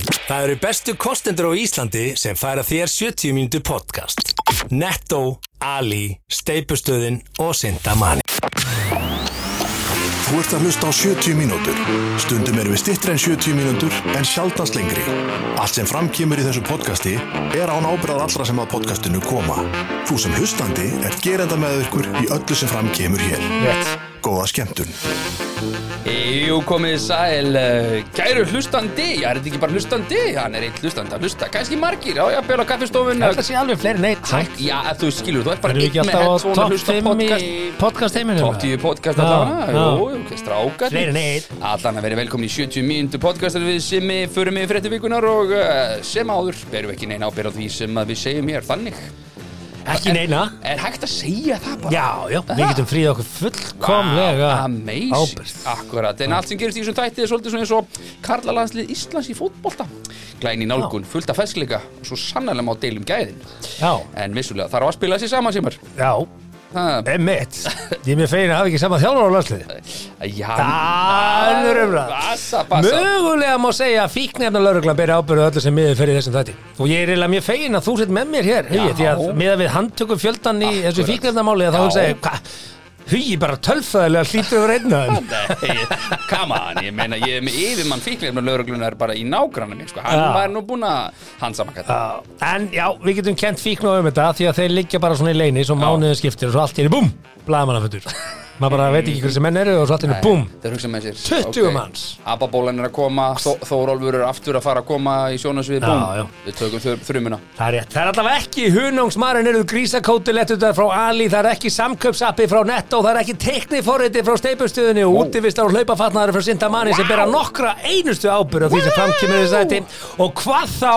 Það eru bestu kostendur á Íslandi sem færa þér 70 mínútu podcast. Netto, Ali, Steipustöðin og Sindamanni. Þú ert að hlusta á 70 mínútur. Stundum erum við stittri en 70 mínútur en sjaldast lengri. Allt sem framkýmur í þessu podcasti er án ábyrðar allra sem að podcastinu koma. Þú sem hlustandi er gerenda með ykkur í öllu sem framkýmur hér. Rétt. Góða skemmtun. Jú, komið sæl, eh, kæru hlustandi, já, er þetta ekki bara hlustandi? Já, hann er einn hlustandi að hlusta, kannski margir, já, já, bjöla á kaffistofun. Það sé alveg fleiri neitt Takk Já, ef þú skilur, þú ert bara Erum við ekki einn alltaf með á headphone að topp hlusta 5 í podcast. podcast heiminum? Top 10 podcast Já, allavega, já. jú, jú, ok, strákar. Fleiri en einn. Allan að vera velkomin í 70 mínútu podcast þar við sem við förum í fréttuvikunar og eh, sem áður berum við ekki neina ábyrð á því sem að við segjum hér þannig. Ekki neina Er hægt að segja það bara? Já, já, við getum fríð okkur fullkomlega Vá, Amazing, ábyrgð. akkurat En allt sem gerist í þessum þætti er svolítið svona eins og Karlalandslið Íslands í fótbolta Glæni nálgun, fullt af fæskleika og Svo sannlega má deilum gæðin Já, En vissulega þarf að spila sér saman sem er já, emmitt Ég er mér fegin að hafa ekki sama þjálfur á landslið Það er umræða. umræð Mögulega má segja að fíknefna lauruglan beri ábyrðu öllu sem miður fyrir þessum þætti Og ég er eiginlega mjög fegin að þú sitt með mér hér hugi, Já. Því að meðan við handtökum fjöldan í þessu Akkurat. fíknefnamáli að Þá Já. hugsa ég, hvað, hugi bara tölfæðilega hlýtur að vera einn af þeim Come on, ég meina ég er með yfirmann fíkleifna lauruglunar bara í nágranna minn sko. Hann Já. var nú búinn að hans saman kalla Já, en já, við getum kent fíknu um þetta því að þeir liggja bara svona í leini svo mánuðin skiptir og svo allt í henni, búm, blaðamannaföndur maður bara veit ekki hversu menn eru og svo allt í henni, búm Það hugsa með sér 20 ok, Ah, manns. Ababólan er að koma, Þó- Þórólfur er aftur að fara að koma í sjónasvið Já, Búm, já. við tökum þur, þrumuna Það er rétt, það er allavega ekki hunungsmarinn eruð grísakóti lettundar frá Ali, það er ekki samköpsappi frá Netto, það er ekki tekniforriti frá steipustuðinni og útivistar og hlaupafatnaður frá Sindamanni sem bera nokkra einustu ábyrð á því sem framkymur þess aðti og hvað þá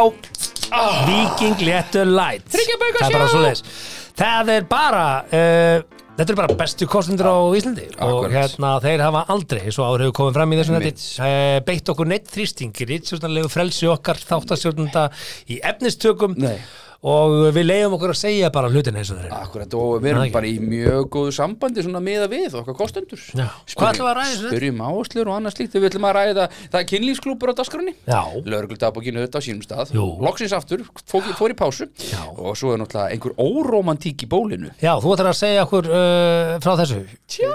Viking Letter Light Ah. Þriggja bauka Það er bara sjó! svo Það er bara uh, Þetta er bara bestu kostnendur á Íslandi og Akkurat. hérna þeir hafa aldrei, eins og áður hefur komið fram í þessum Einmitt. þetta, uh, beitt okkur neitt þrýstingir, rítsjóðanlegu frelsi okkar þáttastjórnunda í efnistökum Nei. og við leiðum okkur að segja bara hlutin eins og þeir eru. Akkurat, og Það við erum ekki. bara í mjög góðu sambandi svona meða við okkar kostendur Já. Hvað ætlum við að ræða þessu? Spyrjum áslur og annað slíkt, við ætlum að ræða það er kynlífsklúpur á dasgrunni Já, Lörguldagbókinu auðvitað á sínum stað Jú. Loksins aftur, fór, fór í pásu Já. Og svo er náttúrulega einhver óromantík í bólinu já, þú ætlar að segja okkur uh, frá þessu. Tjá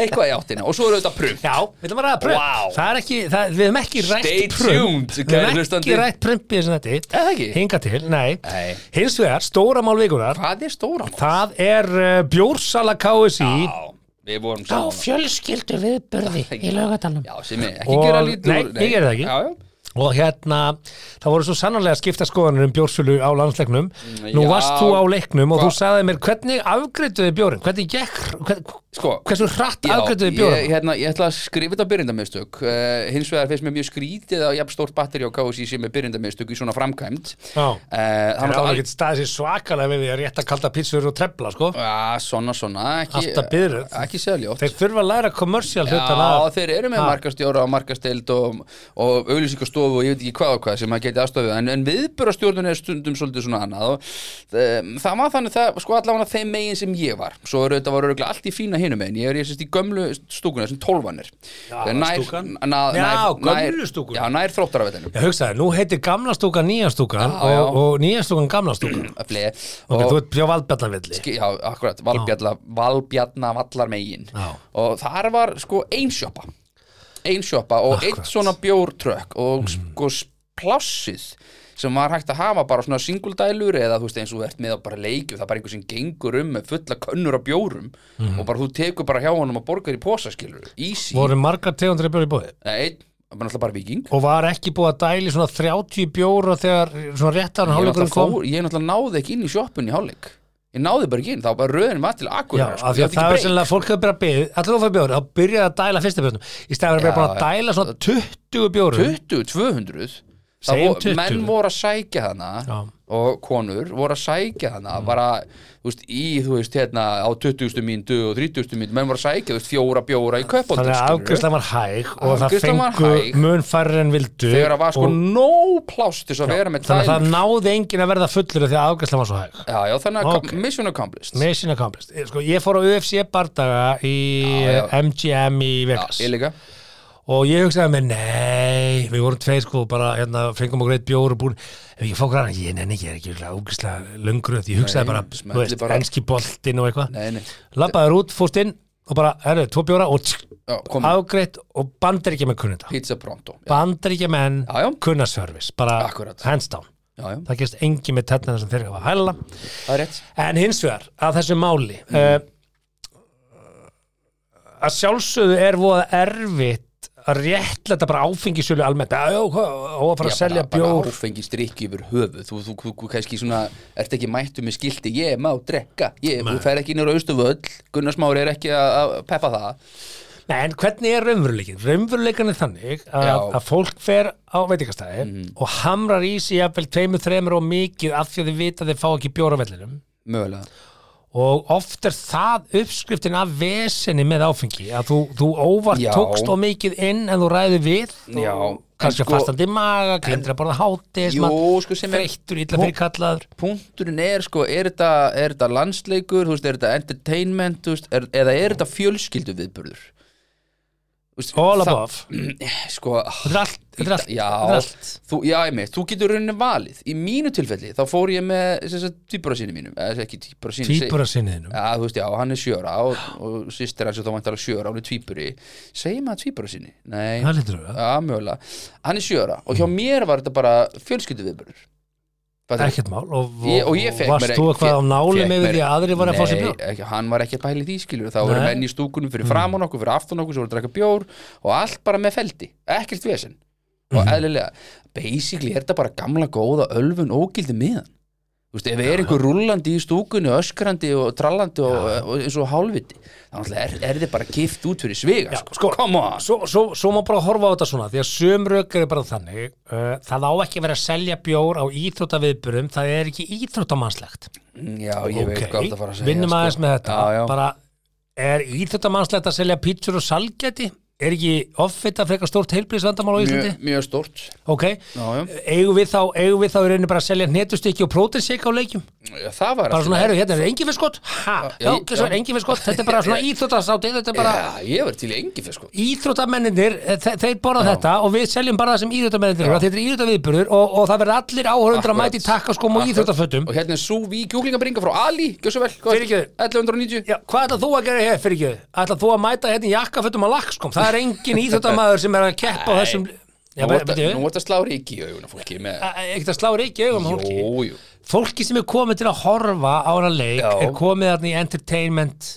Eitthvað í áttina, og svo er auðvitað prum Já, við ætlum að ræða prömp. Vá. Það er ekki, það, við hefum ekki rætt Stay tuned, prömp. Við kæri hefum hlustandi. ekki rætt prömp í þessum þetta. Er það ekki? Hinga til, nei. Nei. Hins vegar, stóra málvíkunar, Hvað er stóra mál? það er uh, bjórsala KSI. Já, við vorum saman fjölskyldu viðburði í laugatalum Já, sem er ekki Og- gera lítur Nei, ég gerði það ekki. Já, já og hérna, það voru svo sannarlega skipta skoðanir um bjórsölu á landsleiknum nú já. varst þú á leiknum og Hva- þú sagði mér hvernig afgreituði bjórin hvernig gekk, hvern, Sko, hversu hratt Já, afgreituði ég, bjórin hérna, ég ætla að skrifa þetta byrjendamistök uh, hins vegar finnst mér mjög skrítið að jafn stórt batteri á KSI sem er byrjendamistök í svona framkvæmt Já. uh, það þannig var að ekki staðið sér svakalega við því að rétta kalda pítsur og trefla sko. Já, svona, svona, ekki, Alltaf biðröð. ekki seljótt þeir þurfa að læra kommersial hlutan Já, að þeir eru með Ha. markastjóra og markasteild og, og auðlýsingastofu og ég veit ekki hvað og hvað sem að geti aðstofið en, en viðbjörastjórnun er stundum svolítið svona annað og um, það var þannig það, sko allavega þeim megin sem ég var svo eru þetta var örugglega allt í fína hinum megin ég er ég sérst í gömlu stúkuna sem tólvanir Já, stúkan. na, Já, nær, gömlu nær- stúkuna. Já, nær þróttarafetinu ég hugsaði, nú heitir gamla stúkan nýja stúkan Já, já. og, og nýja stúkan gamla stúkan ok, þú og, ert bjó valdbjarnavilli já, akkurat, valbjalla, valbjarna vallar megin Já. og þar var sko einsjópa einsjópa og Akkurat. Mm. eitt svona bjórtrökk og sko s- plássið sem var hægt að hafa bara svona singuldælur eða þú veist eins og þú ert með að bara leikju það er bara einhver sem gengur um með fulla könnur af bjórum og bara þú tekur bara hjá honum og borgar í posaskilur easy, Mhm. Vor... voru margar tegundri bjóri bóði einn, bara náttúrulega bara viking og var ekki búið að dæli svona 30 bjóra þegar svona réttar ég hálfleikurinn náttúrulega, kom fór, ég náttúrulega náði ekki inn í sjoppun í hálfleik ég náði bara ekki inn, þá bara röðin var til Já, akkurat af því að það er sennilega að fólk hefur bara beðið allir ofað bjóri, þá byrjaði að dæla fyrsta bjórnum í stæðan Já, að bara að dæla svona 20 bjórum 20, 200 Það Segjum vo- 20. menn voru að sækja hana Já. Mm. og konur voru að sækja hana bara, þú veist, í, þú veist, hérna á 20. mínútu og 30. mínútu menn voru að sækja, þú veist, fjóra bjóra í köpbóttum þannig að afgjörslan var hæg og það Afgreiðslan var fengu hæg. mun færri en vildu þegar það var sko og nóg pláss til þess að vera með þannig að dælur. það náði enginn að verða fullur af því að afgjörslan var svo hæg Já, já, þannig að Ok. okay. mission accomplished Mission accomplished, Ég- sko, ég fór á UFC bardaga í Já, já. eh, MGM í Vegas Ég líka, og ég hugsaði með nei, við vorum tveir sko bara hérna, fengum okkur eitt bjór og búin ef ég fá græna, ég nenni ekki, ég er ekki örugglega ógeðslega löngröð, ég hugsaði Nei, bara, smelli þú veist, bara. enski boltinn og eitthvað, Nei, nei. labbaður út, fóst inn og bara, herru, tvo bjóra og tsk, Já, kom. afgreitt og bandir ekki með kunnita Pizza pronto Já, bandir ekki menn Já, já. kunna service, bara Akkurat. hands down já, já. það gerst engi með tætnina sem þeir hafa að hæla það er rétt En hins vegar, að þessu máli Mm. uh, að sjálfsögðu er voða erfitt að réttlega bara áfengisölu almennt, já, já, hvað, á að fara að Já, selja bara, bjór bara áfengi strikki yfir höfuð þú, þú, þú, þú kannski svona, ert ekki mættu með skilti ég má drekka, ég, þú fer ekki nýra austuvöll, Gunnar Smári er ekki að að peppa það Nei, en hvernig er raunveruleikin? Raunveruleikin er þannig að, Já. Mhm. að fólk fer á veitingastæði og hamrar í sig jafnvel tveimur, þreimur og mikið af því að þið vita að þið fá ekki bjór á vellinum mögulega, og oft er það uppskriftin af vesenni með áfengi að þú, þú óvart Já. tókst og mikið inn en þú ræði við Já, og en kannski sko- fastandi í maga, glindur að borða hátis Jú, sko, sem er- freyttur, illa fyrir kallaður punkturinn er sko, er þetta, er þetta landsleikur þú veist, er þetta entertainment þú veist, er, eða er þetta fjölskyldu viðburður all above, sko, þetta er allt, þetta er allt, já, þetta er allt. þú, já einmitt, þú getur rauninni valið í mínu tilfelli, þá fór ég með týpur að sinni mínum, eða ekki týpur að sinni týpur að sinniðinu Já, þú veist, já, hann er sjöra og, og sýstir hans er þá vantar að sjöra, hún er tvíburi Segir maður tvíbura sinni? Nei, það lítur við, já, mögulega Hann er sjöra og hjá mér var þetta bara fjölskyldu viðbörður ekkert mál og, og, Ég- og ég fekk varst mér- þú eitthvað á fekk- nálum fekk yfir mér- e- því að aðri var að fá sér bjór Nei, ekki, hann var ekki að pæli því skilur Það Nei. voru menn í stúkunum fyrir framan okkur, fyrir aftan okkur, svo voru að draka bjór og allt bara með feldi, ekkert vesen Mhm. og eðlilega, basically er þetta bara gamla góða ölfun ógildi miðan Þú veist, ef er einhver rullandi í stúkunni, öskrandi og trallandi og, og eins og hálfviti þá náttúrulega er, er þið bara kift út fyrir sviga Já, sko. sko. Come on svo, svo, svo má bara horfa á þetta svona því að söm rök er bara þannig uh, það á ekki að vera að selja bjór á íþróttaviðburum það er ekki íþróttamannslegt Já, ég veit hvað það fara að segja sko. vinnum aðeins með þetta Já, já. bara er íþróttamannslegt að selja pítsur og salgæti er ekki offita frekar stórt heilbríðsvandamál á Íslandi Mjög, mjög stort ok, já, já. eigum við þá eigum við þá í rauninni bara að selja hnetustykki og prótinsik á leikjum Já, Það var bara allt í svona, lagi. herru, hérna er engin fiskot ha, Já, já, ég- já, já. engin fiskot þetta er bara svona íþróttasáti, þetta er bara Já, ég verð til í engi fyrir sko Íþróttamennir, þe þeir borða þetta og við seljum bara það sem íþróttamennir eru, af því þetta er íþróttaviðburður og, og það verður allir áhörundur að Akkurat. mæti takkaskóm og Akkurat. íþróttafötum Og hérna er Súví kjúklingabringa frá Ali, gjör svo vel hvað er- Fyrirgefðu. 1190 Já, hvað ætlað þú að gera hér fyrir ekki? Ætlað þú að mæta hérna í jakkafötum og lakkskóm? Það er engin íþróttamæður sem er að keppa á þessum Já, Nú bara, ert að- veitu, nú ert að slá reiki í augun á fólki með e- e- ekkert að slá reiki augum fólki Jú, jú Fólki sem er komið til að horfa á hana leik Já. er komið þarna í entertainment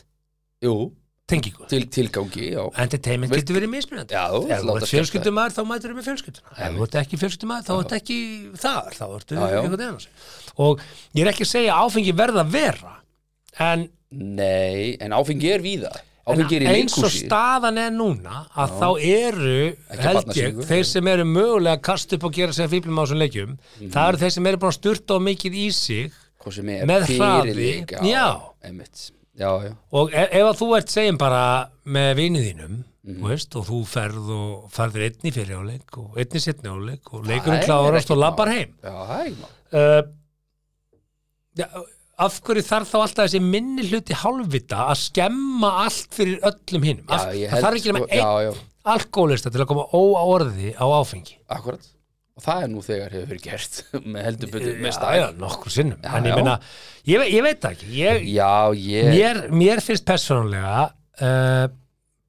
Jú, tengingu til, tilgangi, já Entertainment Veist- getur verið mismunandi Já, Ef þú þú láta ert skemmta fjölskyldumæður þá mætur þú með fjölskylduna Ef þú ert ekki fjölskyldumæður þá ert ekki þar þá ertu Já, já. einhvern veginn og ég er ekki að segja að áfengi verða að vera en, Nei, en áfengi er víða en Áfengi er í eins og leikhúsi staðan er núna að þá eru Ekki held ég barnasöngur, þeir sem eru mögulega að kasta upp og gera sér fíblum á þessum leikjum Mhm. það eru þeir sem eru búin að sturta á mikið í sig Hvað sem er með hraði, fyrirleik, já. Einmitt, já, já Og e- ef að þú ert segjum bara með vinið þínum, Mhm. þú veist, og þú ferð og ferðir einn í fyrir áleik og einn í setni áleik og Það leikurinn er klárast ekkert og mál. labbar heim. Já, það er ekki mál Uh, ja, af hverju þarf þá alltaf þessi minni hluti hálfvita að skemma allt fyrir öllum hinum? Af- Já, það ég held þarf ekki sko- nema einn Já, já, alkoholista til að koma óáorði á áfengi. akkurat Og það er nú þegar hefur verið gert með heldur betur, með Eh, Já, stæl já, nokkur sinnum. Já, en ég já. meina, ég, ve- ég veit það ekki. Ég, Já, ég, mér, mér finnst persónulega uh,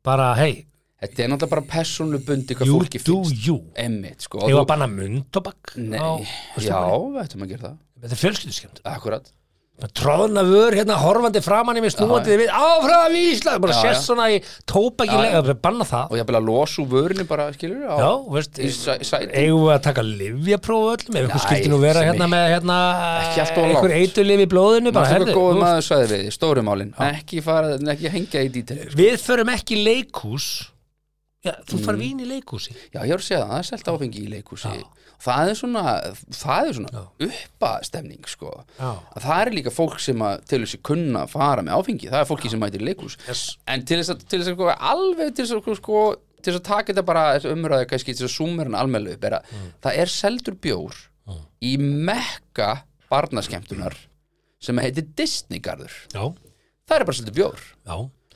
bara, hei, þetta er náttúrulega bara persónubundi hvað you fólki do finnst you. Einmitt, sko Ég var og að banna mundtobak Nei, á- já, við ættum að gera það Þetta er fjölskylduskemmt Akkurat Tróðna vör hérna horfandi framan í mig snúandi þið við Áfram Ísland Bara Já, sér já. svona í tóbaki Já, já. lega bara Banna það Og ég að losa úr vörinu bara, skilur Já, veist Í sæ- sæti. Eigum við að taka livjapróf öllum Ef ykkur Nei, skyldi nú vera sem hérna ég- með hérna Ekki allt of Einhver langt. eitulif í blóðinu bara, Náttúrulega herðu, góðu þú- maður sagði við, stóru málin ekki, fara, ekki hengja í dítel Við förum ekki í leikhús Já, þú Mm. far vín í leikhúsi Já, ég voru að segja það, það er selt áfengi í leikhúsi Það er svona, það er svona uppastemning, sko Já. Að Það er líka fólk sem að til þess að kunna að fara með áfengi, það er fólki sem mætir í leikhús Yes. En til þess að, til þess að sko, alveg til þess að sko, til þess að taka þetta bara þessa umræðu kannski til þess að súmer hann almenlega upp er að Mm. það er seldur bjór í mekka barnaskemmtunar sem heitir Disneygarður Já, já Það er bara seldur bjór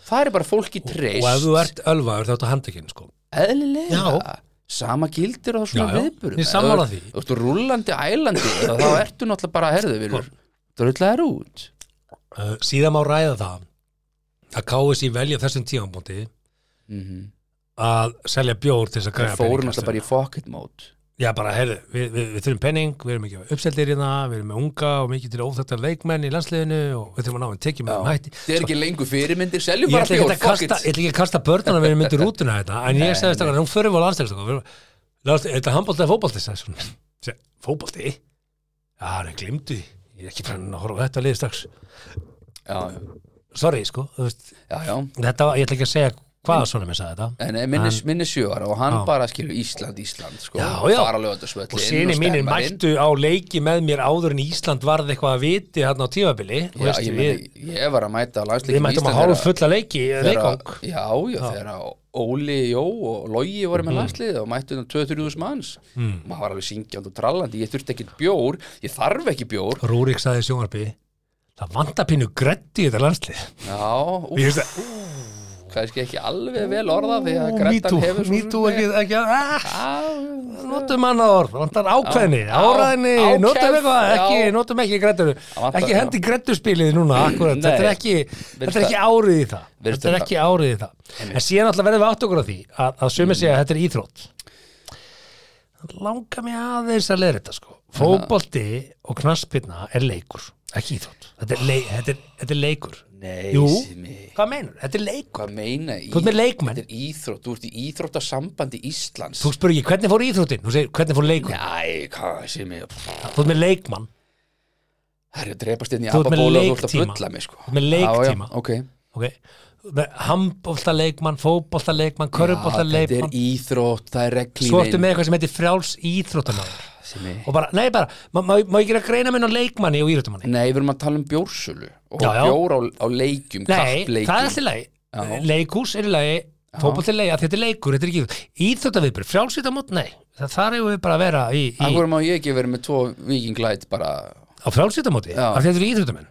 Það er bara fólki treyst Og ef þú ert ölvaður þá ertu handtekinn sko eðlilega Já. sama gildir á svona Já, já. viðburum Ég er sammála því. Þú ert rullandi ælandi þá ertu náttúrulega bara herðu Sko. virur drullar út uh, síðan má ræða það að KSI velja á þessum tímanbúndi að selja bjór til þess að það græða Mhm. fóru peninga. náttúrulega bara í pocket mode Já, bara, heyrðu, við, við, við þurfum penning, við erum ekki uppseldir hérna, við erum með unga og mikið til óþættar leikmenn í landsliðinu og við þurfum að ná en tekjum með þeim hætti. Sko, það er ekki lengur fyrirmyndir, seljum Ég bara ætla ekki bjór að fuck kasta, it ég ætla ekki að kasta börnana við erum myndir rútuna þetta, en ég sagði stakar, hún fyrir var landsliðinu, þetta handbólti eða fótbolti, sagði svona. Seg, fótbolti? Já, hann er glimtu, ég er ekki fann að horfa á þetta liði strax. já, Sorry, sko, þú veist, já, já þetta, var- ég ætla ekki að segja hvaða svona mér sagði þetta. En nei, minni, Hann- minni sjö ára og hann Já. bara skilur Ísland, Ísland sko, Já, já. fara lögandasvöllin og sinni mínir mættu á leiki með mér áður en Ísland varð eitthvað að viti hérna á tímabili og Já, veistu, ég, við, meni, ég var að mæta á við landsleikin í mættum að Ísland hálf þegar- fulla leiki eh, þegar- leikang Já, já, þegar að Óli, Jó og Logi voru Mhm. með landslið og mættu þannig 2-3.000 manns Hmm. maður var alveg syngjald og trallandi, ég þurfti ekkert bjór ég þarf ekki bjór Rúrik saði í sjónvarpi það vantar pínu grett í þetta landslið Já, ú, Ég veist að- kannski ekki alveg vel orða því að me Gretan too, hefur me too ekki, ekki ah, notum annað orð, vantar ákveðni Á, áræðni, á, notum kæft, eitthvað já. ekki, notum ekki grettur vantar- ekki hendi grettuspilið núna, akkurat Nei. þetta er ekki, þetta er það- ekki árið í það virðist þetta er það- ekki árið í það en síðan alltaf verðum við átt okkur á því að, að Mm. sumir segja að þetta er íþrótt langa mig aðeins að leira þetta sko fótbolti og knaspirna er leikur ekki íþrótt, þetta er, leik, þetta er, þetta er leikur Nei, jú, Simmi. hvað meinur, þetta er leikur Hvað meina í? Þú ert með leikmenn. Þetta er íþrótt, þú ert í íþróttasambandi Íslands þú spurði ekki hvernig fór íþróttin, þú segir hvernig fór leikur Næ, hvað sem ég þú ert með leikmann Það er að drepast inn í Þú ert með ababólu og þú ert að leiktíma. bulla mig sko Þú ert með leiktíma. Já, já, ok. ok, handbóltaleikmann, fótbóltaleikmann, Já, Þetta körbóltaleikmann er íþrótt, það er reglífin svo ertu með eitthvað sem heitir frjáls íþróttamæður Simmi. og bara, nei bara, má, má, má ég gera greina minn á leikmanni og íþróttamanni? Nei, við erum að tala um bjórsölu og Já, já. bjór á, á leikjum, Nei, kappleikjum það er allt í lagi, Já. leikhús er í lagi fótbolti er í lagi, af því þetta er leikur, þetta er ekki íþrótt. íþróttaviðbur, frjálsvítamót, nei það þar hefur við bara að vera í, Af í, hverju má ég ekki vera með tvo vikinglæt bara á frjálsvítamóti, Já. af því þetta eru íþróttamenn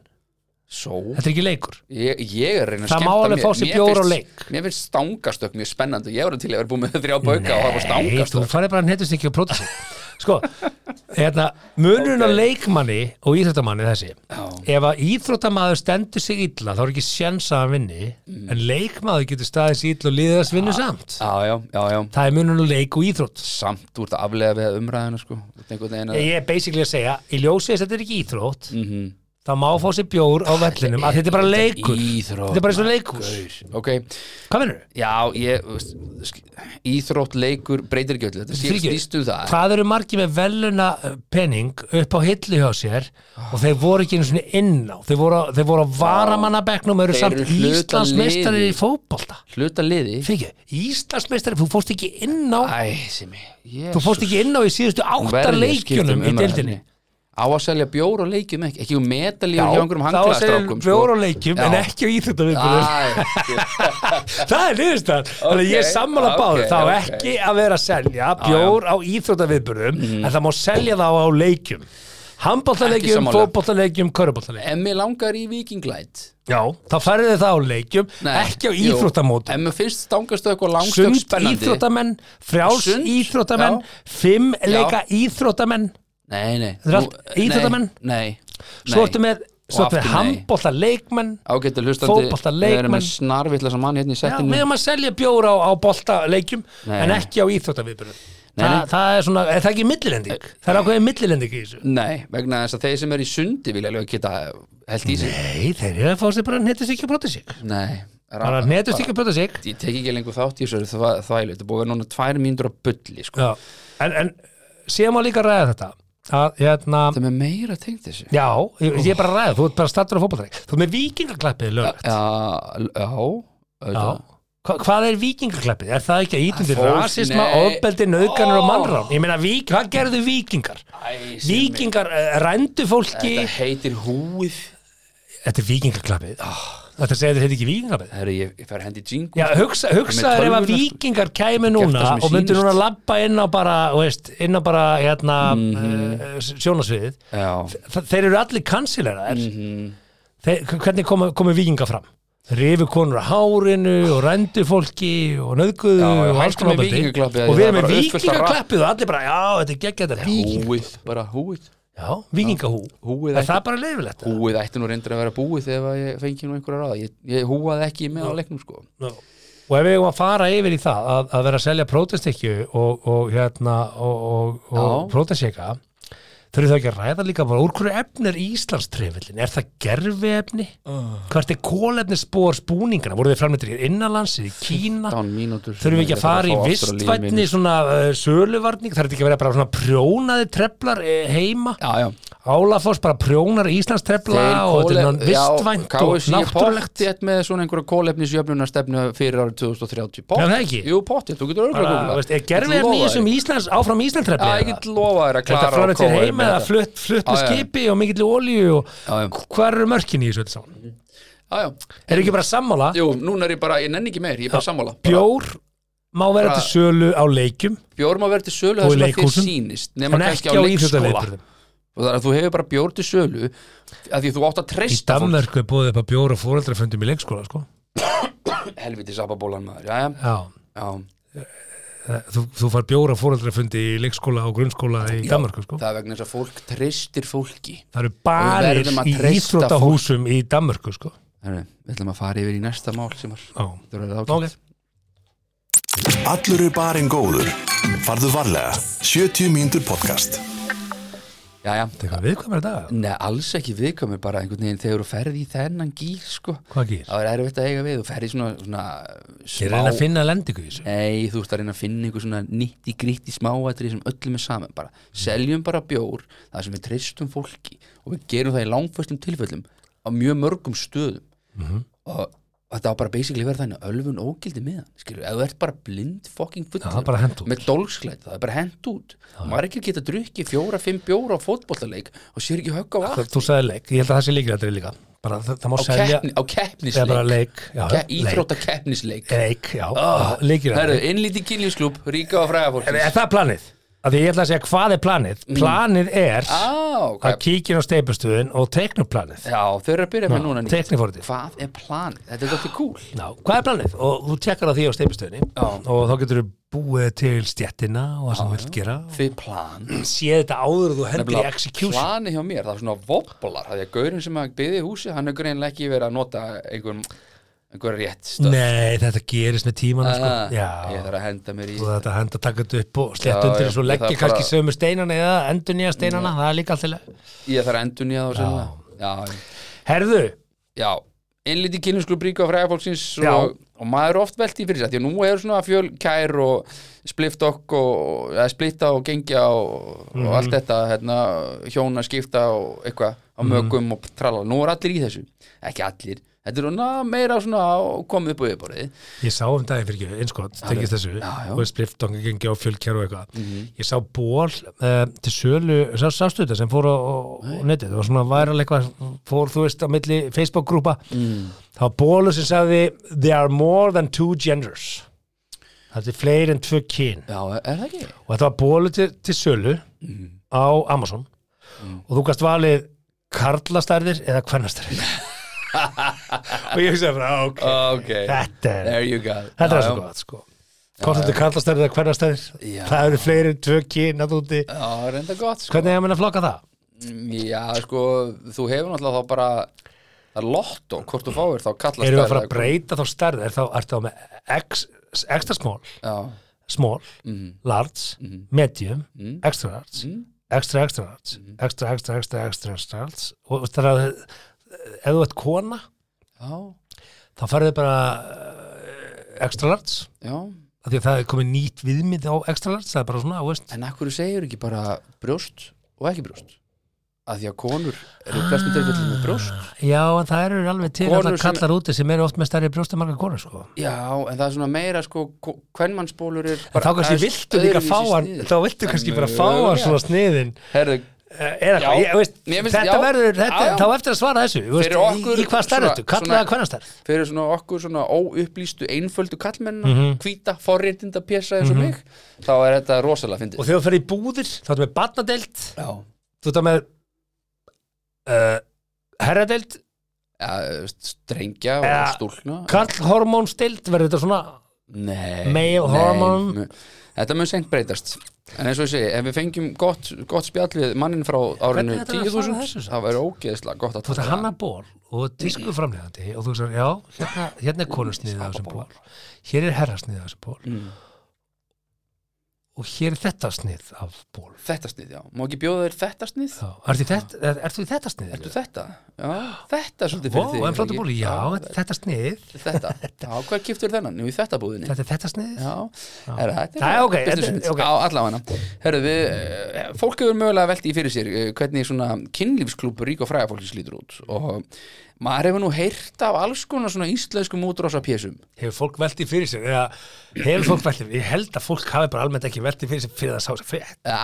svo þetta er ekki leikur, Ég, ég er að reyna að Það skemmta má alveg fá sér Mér bjór á finnst- leik. Mér finnst stangastökk mjög spennandi Ég var til að vera búin með þrjá bauka og hafa nei, þú stangastökk farið bara nettust ekki á prótisík sko, hérna, munurinn á Ok. leikmanni og íþróttamanni er þessi Já. ef að íþróttamaður stendur sig illa þá er ekki sjens að hann vinni en leikmaður getur staðið sig illa og liðið þess vinnu samt Mm. Já, já, já, já það er munurinn á leik og íþrótt Samt, þú ert að aflega við umræðina sko Þú ert einhvern veginn að- ég er basically að segja, í ljósið þess að þetta er ekki íþrótt Mhm. þá má fá sér bjór á vellinum að þetta er bara leikur Íþrótt, þetta er bara eins og leikur Ok, hvað minnur? já, ég þú veist, sk- Íþrótt, leikur, breytir ekki öllu Þetta sé- snýst um það hvað eru margir með veluna eh, penning upp á hillu hjá sér og þeir voru ekki einu svona inn á þeir voru, á- þeir voru á varamannabekknum og eru Þeir samt eru hluti af Íslandsmeistari liði. í fótbolta Hluta liði fyrir ekki, Íslandsmeistari, þú fórst ekki inn á Æ, Simmi Jesus. Þú fórst ekki inn á í síðustu átta Verð ég skipta um leikjunum í umræðefni? deildinni Á að selja bjór og leikjum ekki Ekki um metalífur hjá þá einhverjum segir hanglaðastrákum bjór og leikjum en Já. Ah, ekki á íþjóttaviðbúðum Æ, Það er niðurstaðan Þannig að ég er Ok, sammála ok, báður Þá ok. ekki að vera að selja bjór á íþjóttaviðbúðum en það má selja þá á leikjum Mhm. Ekki Handbóltaleikjum, sammála. fótbóltaleikjum, körubóltaleikjum En mér langar í vikinglæt Já, þá færðu þið það á leikjum ekki á íþróttamótum En mér finnst stangastökk og langstökk Sund spennandi íþróttamenn, frjáls Sund, íþróttamenn já. Fimm leika íþróttamenn Nei, nei Þetta er allt Nú, íþróttamenn? Nei, nei. Svo ertu með, svo Og ertu með aftur nei. handbólta leikmenn Ágættu hlustandi Fótbolta, Við erum leikmenn. með snarvitla sem mann hérna í Já, settinu við erum að selja bjóra á, á boltaleikjum Nei. en ekki á íþjóttaviðbjörnum Nei, Þa, nei. Eh. það er svona, er það ekki millilending? Það er ákveðið millilending í þessu Nei, vegna þess að þeir sem eru í sundi vilja alveg geta held í sig Nei, þeir eru að fá sér bara netust ekki að brota sig Nei, er bara að- netust ekki að brota sig ég tek ekki lengur þátt í þessu það var þvælu, þetta er búið að vera núna tvær mínútur á bulli sko. Já, en, en síðan má líka ræða þetta að, hérna, það er með meira tengt þessu já, já, ég, ég er bara að ræða þú ert bara stattur á fótballtæk, þú ert með vikingaklappið lögulegt, l- já, já auðvitað. Hva, hvað er vikingaklappið? Er það ekki að ítundir Fólk- rasisma, nei. ofbeldi, nauðganur og Ó. mannrán? Ég meina, vík, hvað gerðu vikingar? Æ, Simmi, Víkingar uh, rændu fólki þetta heitir húið Þetta er vikingaklappið oh, Þetta segir þetta ekki vikingaklappið Herru, ég, ég fer að hendi jingu Já, hugsa, hugsaður ef tölvuna, að sko. vikingar kæmi Gert það núna sem mér og myndu sýnist. núna labba inn á bara, þú veist, inn á bara hérna, mm Mhm. sjónasviðið já, Mhm. Þa, þeir eru allir kansileraðir þeir, hvernig komu, komu vikingar fram? rifu konur á hárinu og rændu fólki og nöðguðu Já, já, og alls hættu konar með ofbeldi. víkingaklappið, og það við er erum með bara uppfullt af rap. vikingaklappið og allir bara, já, þetta er geggjætt þetta er viking, Húið, bara húið já, vikingahú Húið er ætti- það bara leifilegt? Húið ætti nú reyndar að vera búið þegar að ég fengi nú einhverja ráða Ég, ég húaði ekki með á leiknum sko Já. og ef við erum að fara yfir í það að, að vera að selja prótestekju og, og hérna og, og, og Já. prótestekja þurfum það ekki að ræða líka bara úr hverju efni er Íslandstrefillin er það gerfi efni? hvert er kólefni spór spúningana? voru þið framleitir í innanlandsið, í Kína? Dán mínútur þurfum við ekki að fara í Ég þarf að fá Ástralíu vistvætni mín. svona uh, söluvarning, þarf þetta ekki að vera bara svona prjónaði treflar eh, heima Já, já Álafoss bara prjónar Íslands trefla og þetta er náttúrulega vistvænt og náttúrulegt Ég með svona einhverja kólefnisjöfnuna stefnu fyrir árið 2030 Pott, Já, það ekki. Jú, pottið, þú getur örgulega bara, veist, er gerfiðarni í þessum Íslands, áfram Íslands Já, trefla ég get lofað þér að Þetta klara flara og til kóa þér heima með eða þetta. flutt, flutt með Já, já. skipi og mikill olíu og Já, já. hvað eru mörkin í þessu öllu saman? Já, já Er ekki bara sammála? Jú, núna er ég bara, ég nenni ekki meir, ég er bara sammála Bjór má vera Bara- til sölu á leikjum Bjór má vera til sölu Og í þar sem að þér leikhúsum. sýnist en nema ekki á leikskóla íþjóttaleikurðum og það er að þú hefur bara bjór til sölu að því að þú átt að Í treysta fólk Danmörku er búið upp að bjóra fóreldrafundum í leikskóla sko. helviti sababólan maður, já, já, Já, já þú, þú far bjóra fóreldrafundi í leikskóla og grunnskóla í Danmörku sko. það er vegna þess að fólk treystir fólki Það eru Og við barir verðum að í treysta íþróttahúsum í Danmörku sko. Herru, við ætlum að fara yfir í næsta mál sem var Já. það var ágætt. Ok. Allur er barinn góður. Farðu varlega. 70 mínútur podcast. já, já, Þegar við komum þetta Nei, alls ekki viðkomi bara einhvern veginn þegar þú ferði í þennan gýr sko, Hvað gýr? það er erfitt að eiga við þú ferði svona, svona Ég reyna að smá finna lendingu í þessu Nei, þú ert að reyna að finna einhver svona nýtti grítti smáatri sem öllum er saman bara, seljum bara bjór það sem við treystum fólki og við gerum það í langfæstum tilfellum á mjög mörgum stöðum Mhm. og þetta á bara basically verið þannig að ölfun ógildi með hann, skilur, ef þú ert bara blind fucking full, það er bara hent út. með dolgsklætt, það er bara hent út margir geta drukkið fjóra, fimm bjóra á fótbollaleik og sér ekki högg á Þú- vatn Þú sagði leik, ég held að það sé líka þetta líka bara, það, það má á, selja keppni, á Það er bara keppnisleik leik já, Ke leik, íþrótta keppnisleik leik, já, Ah, já, leikir að Herru, leik. innlítið kynlífsklub, ríka og fræða fólk Er er það planið? Af því ég ætla að segja hvað er planið Planið er Mm. Á, Eh. hvað að kíkja á steipustuðin og teiknum planið Já, þau eru að byrja með núna nýtt Teiknifóritið Hvað er planið? Þetta er þetta cool Já, hvað er planið? Og þú tekkar á því á steipustuðinni og þá getur þú búið til stjettina og það sem þú vilt gera og Þið plan séð þetta áður og þú hendur í execution planið hjá mér, það er svona voblar Það er gaurinn sem að byggði húsi Hann er greinlega ekki verið að nota einhver, einhver rétt stöð Nei, þetta gerist með tíman sko. Ah, Ég Já, þarf að henda mér í og þetta henda taka þetta upp og slett Já, undir já, þessu og ég leggja þarf kannski bara- sömu steinana eða endur nýja steinana, það er líka alltaf leið. Ég þarf að endur nýja þá sennilega Já, Herðu, já Innlítið kynlífsklub ríka og fræða fólksins Já. og, og maður er oft velt í fyrir sér Því að nú er svona fjöl kær og splift okk og eða splitta og gengja og, og allt Mhm. þetta hérna, hjóna skipta og eitthvað á mögum og tralla, nú er allir í þessu ekki allir, þetta er svona meira svona á- komið upp á yfirborðið ég sá um daginn fyrir ekki, einskott, tengist þessu já, já. og spliftanga gengi á fjölkjær og eitthvað. Ég sá ból uh, til sölu, sá, sástu þetta sem fór á, á netið, það var svona væral eitthvað, fór þú veist á milli Facebook-grúpa, mm. það var bólu sem sagði There are more than two genders. Það er fleiri en tvö kyn. Já, er það ekki? og þetta var bólu til, til sölu Mm. á Amazon og þú gast valið karlastærðir eða kvennastærðir og ég hugsaði bara "Ah, ok, Ok, þetta er there you go þetta Já, er svo já. gott sko hvort þetta er karlastærðir eða kvennastærðir Já. það eru fleiri en tvö kyn að úti Já, reynda gott sko. hvernig er að minna að flokka það? Já, sko, þú hefur náttúrulega þá bara það er lottó, hvort þú fáir þá kallast eru við að fara það- að breyta þá stærð er þá, ertu þá með ex, extra small Já, small, Mhm. large, medium extra large, extra extra large Mhm. extra extra extra extra extra large og veist það er að eh, ef þú ert kona, já, þá færðu bara eh, extra large já af því að það er komið nýtt viðmið á extra large, það er bara svona, þú veist En akkur segir ekki bara brjóst og ekki brjóst að því að konur Ah. eru í flestum tilfellum með brjóst já, en það eru alveg til Konur að það sem- kallar úti sem eru oft með stærri brjóstum margar konur, sko Já, en það er svona meira sko hvernmannsbólur er en þá kannski aðeins viltu líka öðruvísi fá hann sniðið. þá viltu kannski bara fá hann svona sniðin Herðu, eða Já. hvað, ég veist, Mér finnst- þetta já. verður þetta, Já, já. þá á eftir að svara þessu, þú veist, Fyrir okkur í, í hvað svona- stærðustu, svona- kallar það hvernig stærð fyrir svona okkur svona óupplýstu einföldu kallmennina, mm Mhm. hvíta forréttinda pjessa eins og mig, þá er þetta rosalega fyndið. og þegar þú ferð í búðir þá ertu með barnadeild, Já, þú ertu með uh, eh, herradeild ja, strengja og Eða- stúlna Karlhormón stilt, verður þetta svona Nei, Male nei, hormone. nei. Þetta mun seint breytast En eins og ég segi, ef við fengjum gott, gott spjall við mannin frá Hvernig árinu er þetta að svara 10.000 þessu samt? það væri ógeðslega gott að Þú ert að hanna ból og tísku framlegandi og þú sagði, já, hérna, hérna er konusniðið á þessum ból, hér er herrasniðið á þessum ból Mm. og hér er þetta snið af ból Þetta snið, já, má ekki bjóða þér þetta snið? Já, ertu í þetta, er, ertu í þetta snið? Ertu þetta? Já, þetta er svolítið Ó, fyrir þig en flottu ekki? bóli, já, þetta er þetta snið þetta er þetta Já, hvað kiptur þennan? Jú, í þetta búðinni Þetta er þetta snið Já, herra, þetta Nei, ok, business þetta- sense. ok. Já, allavega Herru, við, eh, fólk hefur mögulega veltið fyrir sér eh, hvernig svona kynlífsklúpur rík og fræða fólki slítur út og maður hefur nú heyrt af alls konar svona íslenskum útrása pésum Hefur fólk veltið fyrir sér? Eða, hefur fólk veltið? Ég held að fólk hafi bara almennt ekki veltið fyrir sér fyrir það sá sér fett Já,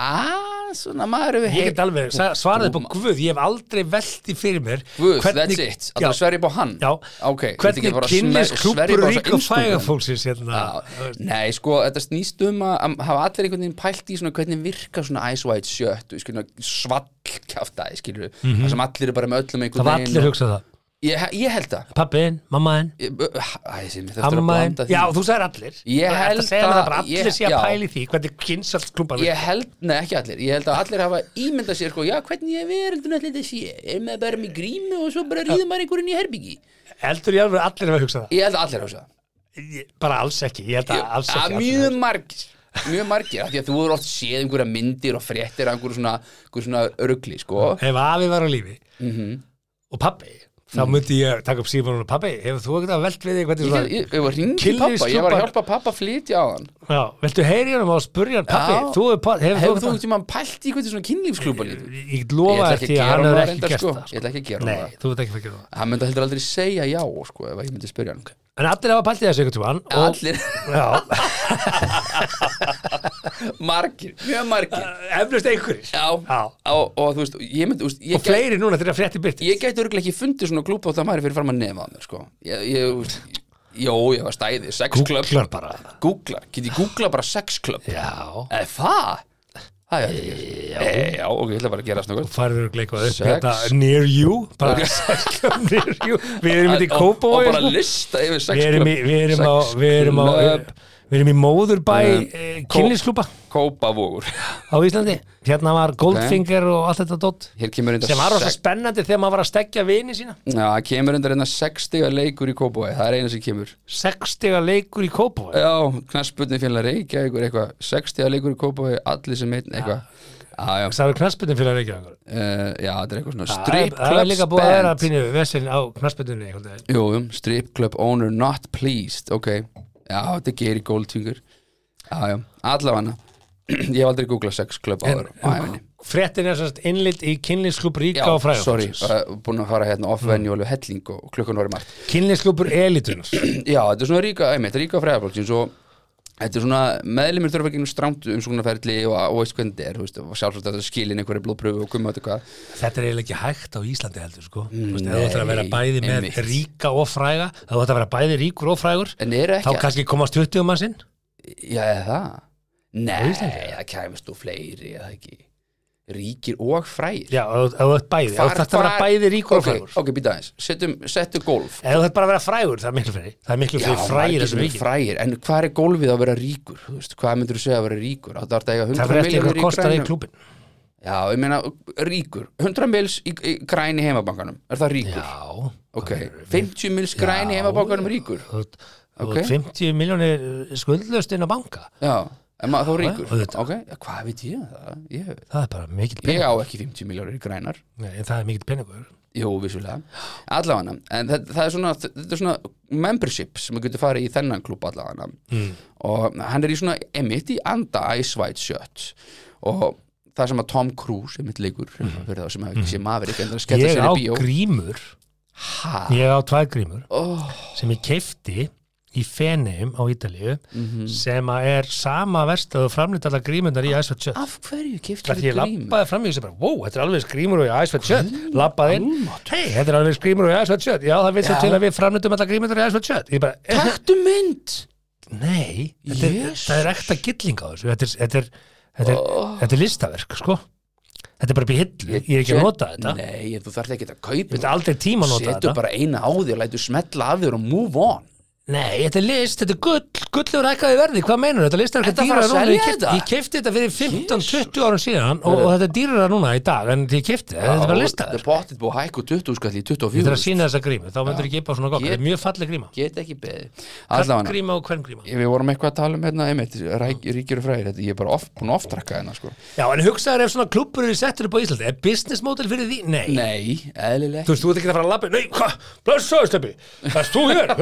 Ah, svona maður hefur Ég get heyrt alveg sa- svarað upp á Guð, ég hef aldrei veltið fyrir mér Guð, hvernig- that's it, Já, að þú sverja upp á hann Já, ok, hvernig kynlis klúpur rík og fægafólksins hérna. Já, nei, sko, þetta snýst um að að hafa allir einhvern veginn pælt í svona hvernig virka svona Ice White shirt skilur, svallkjaftaði, skilur mm sem allir eru bara með öllum Mhm. Það einhvern var allir hugsað það ég, ég held það Pappin, mammaðin, Ég- Æ, þessi, mér þurftur að ammaðin blanda því Já, þú sagðir allir Þú Ég ert held að segja mér að- það bara allir ég- sé að já. pæli því hvernig kynsalt klúpar Ég held, nei ekki allir, ég held að allir hafa ímyndað sér sko, já hvernig er veröldin allir þetta sé, er maður bara með grímu og svo bara ríðum maður einhverjum í herbyggi Heldur ég alveg að allir hefur hugsað það Ég held að allir hafa það Ég- Bara alls ekki, ég held að alls Já, ekki allir hafi hugsað mjög margir mjög margir, af því að þú eru oft séð einhverja myndir og fréttir af einhverju svona, einhverju svona örugli, sko það. Ef afi var á lífi Mhm. og pappi þá myndi ég taka upp síman og pappi hefur þú ekkert að velt við þig hvernig Ég, svona ég, ég var ringið Kynlífs- pappa, ég var að klúbbar. hjálpa pappa að flytja á hann Já, viltu heyri hann og spurja hann pappi, Já. þú hefur pa- hefur Hefur þú þú ekki mann pælt í hvernig svona kynlífsklúpa lítur? Ég ég Ég lofa ætla þér ekki því að að gera hann honum hefur það ekki reyndar, gert sko. það Ég ætla ekki að gera honum Nei, það. þú veit ekki að gera það Hann myndi heldur aldrei segja já, sko, ef ég myndi spyrja hann En allir hafa pælt í þessu ykkur tjúan Allir, Já, margir, mjög margir eflust einhverjir Já, Já. Og, og þú veist, ég myndi, þú veist, ég Og fleiri núna þegar frétti byrti ég gæti örgulega ekki fundið svona klúpa og það maður fyrir fram að nefa að mér sko ég, ég, þú veist, jó, ég var stæði sexklöp, Googlar bara googlar, get ég googla bara sexklöp Já eða það það er ekki já. E, já, ok, ég ætla bara að gera svona Og farður og gleikvað upp Sex. hérna near you bara sex club near you Við erum hérna í og, og Kópavói bara sko. lista yfir Við erum í Við sexklöp erum á Við erum á Sexclub. Við erum í Móðurbæ eh, Kó- kynlífsklúpa kópavógur á Íslandi Hérna var Goldfinger og allt þetta dott hér kemur enda sem var rosa sex- spennandi þegar maður var að stekja vini sína Já, það kemur enda reyna 60 leikur í Kópavói, það er eina sem kemur sextiga leikur í Kópavói Já, knastbunni félag reykja ykkur eitthvað 60 leikur í Kópavói, allir sem einn eitthvað Já, já, Það er knassbyrnum fyrir að reykja uh, já, þetta er eitthvað svona strip Það er club líka búið að vera band pínu vesinn á knassbyrnunni Já, Jú, um, strip club owner not pleased Ok, já, þetta er Geri Goldfinger Já, já, allavega Ég hef aldrei googlað sex club áður á æfinni Fréttin er sérst innlitt í kynlífsklúb Já, ríka og sorry, fræðafólksins uh, búin að fara hérna Mm. off-venue alveg helling og klukkan var í margt Kynlífsklúbur elitunar Já, þetta er svona ríka, einmitt, þetta er ríka fræðafólksins og þetta er svona, meðlumir þurfa ekki strámt um svona ferli og, og veist hvernig þetta er þú veist, og sjálfsagt þetta skilin einhverju blóðpröfu og gumma og hvað Þetta er eiginlega ekki hægt á Íslandi heldur sko Þú veist, ef Nei, þú ætlar að vera bæði með einmitt. ríka og fræga ef þú ætlar að vera bæði ríkur og frægur En eru þá ekki, kannski komast 20 mann sinn já, er það Nei, Íslandi, það kæmist þú fleiri, eða ekki Ríkir og frægir Já, ef þú- ef þú ert bæði, ef þú þarft að vera hvar- bæði ríkur og ok, frægur ok, býta aðeins, setjum, settu golf Ef þú þarft bara að vera frægur, það er miklu fyrir Það er miklu fyrir margir frægir sem þessum eru ríki frægir, en hvað er golfið að vera ríkur Þú veist, hvað myndur þú segja að vera ríkur það er þetta Það eitthvað 100 fyrir eftir miljónir eitthvað í kostar í grænum. klúbin já, ég meina, ríkur 100 mils í, í græni heimabankanum er það ríkur, Já, ok 50 mils græni Já. heimabankanum ríkur þú ert þú Ok. ert 50 miljónir skuldlust inn á banka já, en maður þá ríkur auðvitað. ok, já, hvað veit ég um það ég, Það er bara mikill ég peningur á ekki 50 miljónir í grænar Nei, Það er mikill peningur Jú, vissulega. Allavega, en það, það er svona, þetta er svona membership sem maður getur farið í þennan klúb allavega. Mm. Og hann er í svona, emitt í anda Ice White Shirt. Og það sem að Tom Cruise, emitt leikur, fyrir þá sem hafa ekki sé maður, ekki endur að skella Mhm. Ég sér á í bíó. Ah. grímur Ha? Ég á tvær grímur Oh, sem ég keifti í Feneum á Ítalíu Mhm. sem að er sama verst að þú framlýtt allar grímundar í Æsvætt sjött af hverju kiftur Það því ég labbaði fram í þessu bara, wow, þetta er alveg skrímur og í Æsvætt sjött labbaði inn, hei, þetta er alveg skrímur og í Æsvætt sjött já, það vil svo Já. til að við framlýttum allar grímundar í Æsvætt sjött ég bara, eh, Taktu mynd! nei þetta er, Jesus. það er ekta gilling á þessu þetta er, þetta er, þetta er, þetta er listaverk, sko þetta er bara upp í hillu, ég er ekki að nota þetta ég Nei, þú þarf ekki að kaupa veit aldrei tíma að nota Setu þetta bara eina á þér, lætu smetla af þér og move on Nei, þetta er list, þetta er gull, gullur ekkaði verði, hvað meinar þetta? List er Ertu eitthvað að fara dýrar núna, að selja ég kefti, þetta? ég kefti þetta fyrir 15-20 árum síðan og, og þetta er dýrar núna í dag, en ég kefti þetta, þetta er bara Þetta listar. er pottit búið að hækku 20 skall í Þetta er að 24 sína þessa grímu, þá myndir ekki upp á svona gokk, þetta er mjög falleg gríma. Get ekki beðið Allavega, Gríma og hvern gríma. við vorum eitthvað að tala um hérna einmitt, ræk, ríkir og fræðir, þetta ég er bara oft, búin að oftrakka hérna sko. Já, en hugsaður ef svona klubburur er settur upp á Íslandi, er business model fyrir því? Nei. Nei, eðlileg Þú veist, þú ert ekki að fara að labba, nei, hvað, blessaður steppi, erst þú hér?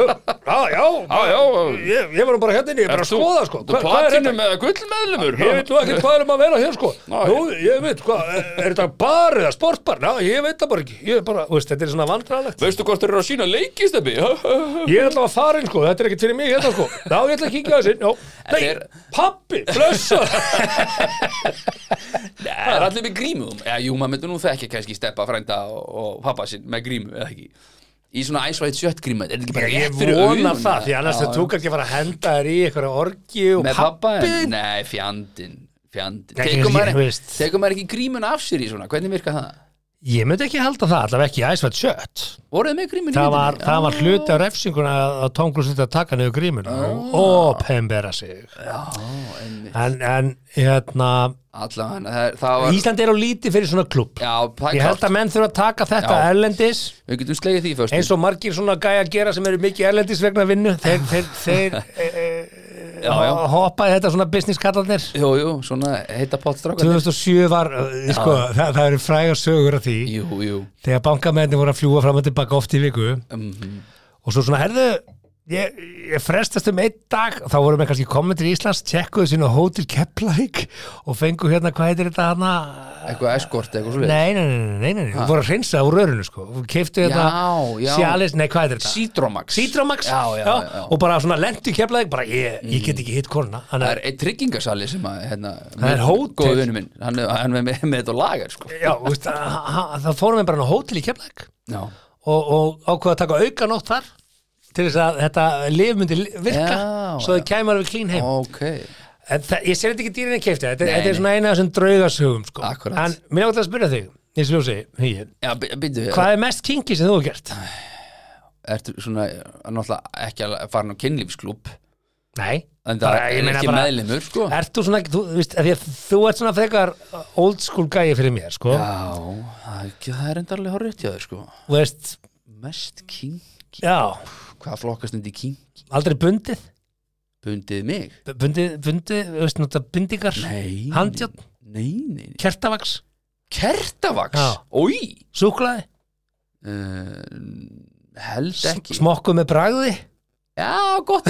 Já, já, Já, já, ég, ég var nú bara hérna inni, ég er bara að skoða, sko, Þú Hva- hvað er þetta? platinu með gullmeðlumur Ég veit nú ekkert hvað er um að vera hér sko Nei. Nú, ég veit hvað, er þetta bar eða sportbar? Ná, ég veit það bara ekki Ég er bara, þú veist, þetta er svona vandræðalegt Veistu hvort þeir eru að sína leikisteppi? Ég er alltaf að fara inn sko, þetta er ekki fyrir mig hérna sko Ná, ég ætla að kíkja þessi, já Nei, er- pappi, blössa Það er allir með grímu Já, jú, maður myndi nú þekki kannski steppa frænda og, og pappa sinn með grímu, eða ekki Í svona æsvæðið sjött gríma Þetta er ekki bara Ég rétt fyrir vona augun, það, því annars já, það tók ekki að fara að henda þér í eitthvað orgi og Með pappa? pappi Nei, fjandin Fjandin Nei, Tekur ég- þú maður, veist. tekur maður ekki grímun af sér í svona Hvernig virka það? Ég myndi ekki halda það, allavega ekki æsvætt sjött Voruð þið með grímun Það var, það var hluti á refsinguna að- að Tom Cruise þetta taka niður grímuna og pembera sig en, en hérna Allan, það, það var Ísland er á lítið fyrir svona klubb Já, það Ég er held klart að menn þurfa að taka þetta Já. erlendis Við getum slegið því fyrst eins og margir svona gæja gera sem eru mikið erlendis vegna vinnu þeir, þeir, þeir e, e, Já, já. hoppaði þetta svona business kallarnir Jú, jú, svona heita pottstrákan 2007 var, eh, sko, það, það eru frægar sögur af því Jú, jú þegar bankamenni voru að fljúa fram og tilbaka oft í viku Mhm. og svo svona, herðu ég, ég frestast um einn dag þá vorum við kannski komin til Íslands, tjekkuðu sín á Hotel Keplæk og fengu hérna, hvað heitir þetta hana Eitthvað eskort, eitthvað svo nei, nei, nei, nei, nei, nei, nei. voru að hreinsa úr rörinu sko, keiftu Já, þetta já. Cialis, nei, hvað heitir þetta Citromax Citromax, Já, já, já, já. Mm. og bara svona lentu Keflæk, bara ég, ég get ekki hitt konuna Það þannig er að, einn tryggingasali sem að hérna, Það er hótel. Góðu vinnu minn, hann er, hann er með, með þetta á lagar sko. já, þú veist, að- að- að- þá fórum við bara á Hotel í Keflæk Já, og, og ákveða að taka auka nótt þar til þess að þetta lif myndi li- virka Já, svo þau kæmur við klín heim ok en það, ég sér þetta ekki dýrin að keifta þetta, Nei, þetta er nei. svona eina af þessum draugasögum sko. Akkúrat. en mér átt að spyrja þig Nils Ljósi, Hugi, Já, by- býttu, hvað er mest kingi sem þú hefur gert? ertu svona náttúrulega ekki að fara á kynlífsklúb Nei, en það er ekki bara, meðlimur sko. Ert þú svona, þú, veist, af því að þú ert svona frekar old school gæi fyrir mér, sko Já, það er ekki- það er endarlega horrið hjá þér sko. Þú veist, Mest kink já, Hvað flokkast undir kink? aldrei bundið Bundið mig? B- Bundið, bundið, þú veist, nota bundingar Nei Handjárn? Nei, nei, nei Kertavaks, Kertavaks? Já. Ói súklaði uh, Held ekki Smokku með bragði Já, gott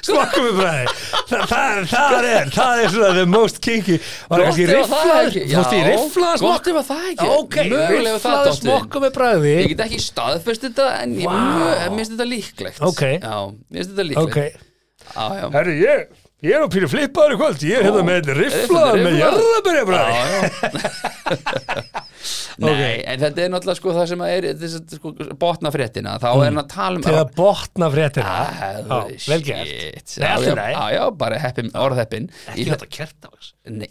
Smokku með bragði Þa, það, það er, það er svona the most kinky Var kannski rifflaður, fórst í rifflaður smokku Gott ef að það ekki Ok, Mögulega ef það rifflaður dottin smokku með bragði Ég get ekki staðfest þetta en ég Vá. wow. minnst þetta líklegt Ok. Já, minnst þetta líklegt Ok, Já, já herri ég Ég er á pínu flippaður í kvöld, ég er hérna með rifflaður með jarðabyrja bræði Já, já Nei, en þetta er náttúrulega sko það sem að er þess að sko, botna fréttina þá er hann að tala um Mm. til að botna fréttina Ah, Já, vel gert shit. Nei, Já, allt í já, lagi. já, já, bara heppin, orðheppin Ég- kertavags Nei,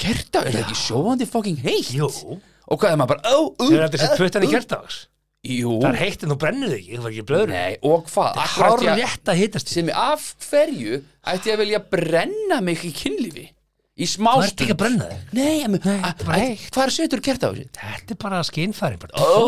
kerta er það ekki sjóandi fucking heitt Jú, Og hvað er maður bara oh, uh, þeir eru aldrei sett puttan í kertavags Jú, Það er heitt en þú brennir þig, ekki, það var ekki blöður nei, og hvað Akkurat Hár ég- rétt að hittast Sem ég- af hverju ætti ég að vilja brenna mig í kynlífi Í Það smástund ert ekki að brenna þig Nei, em, Nei, a- bara a- heitt. hvað er setur kerta á þessi? Þetta er bara skinnfærin bara. Ó,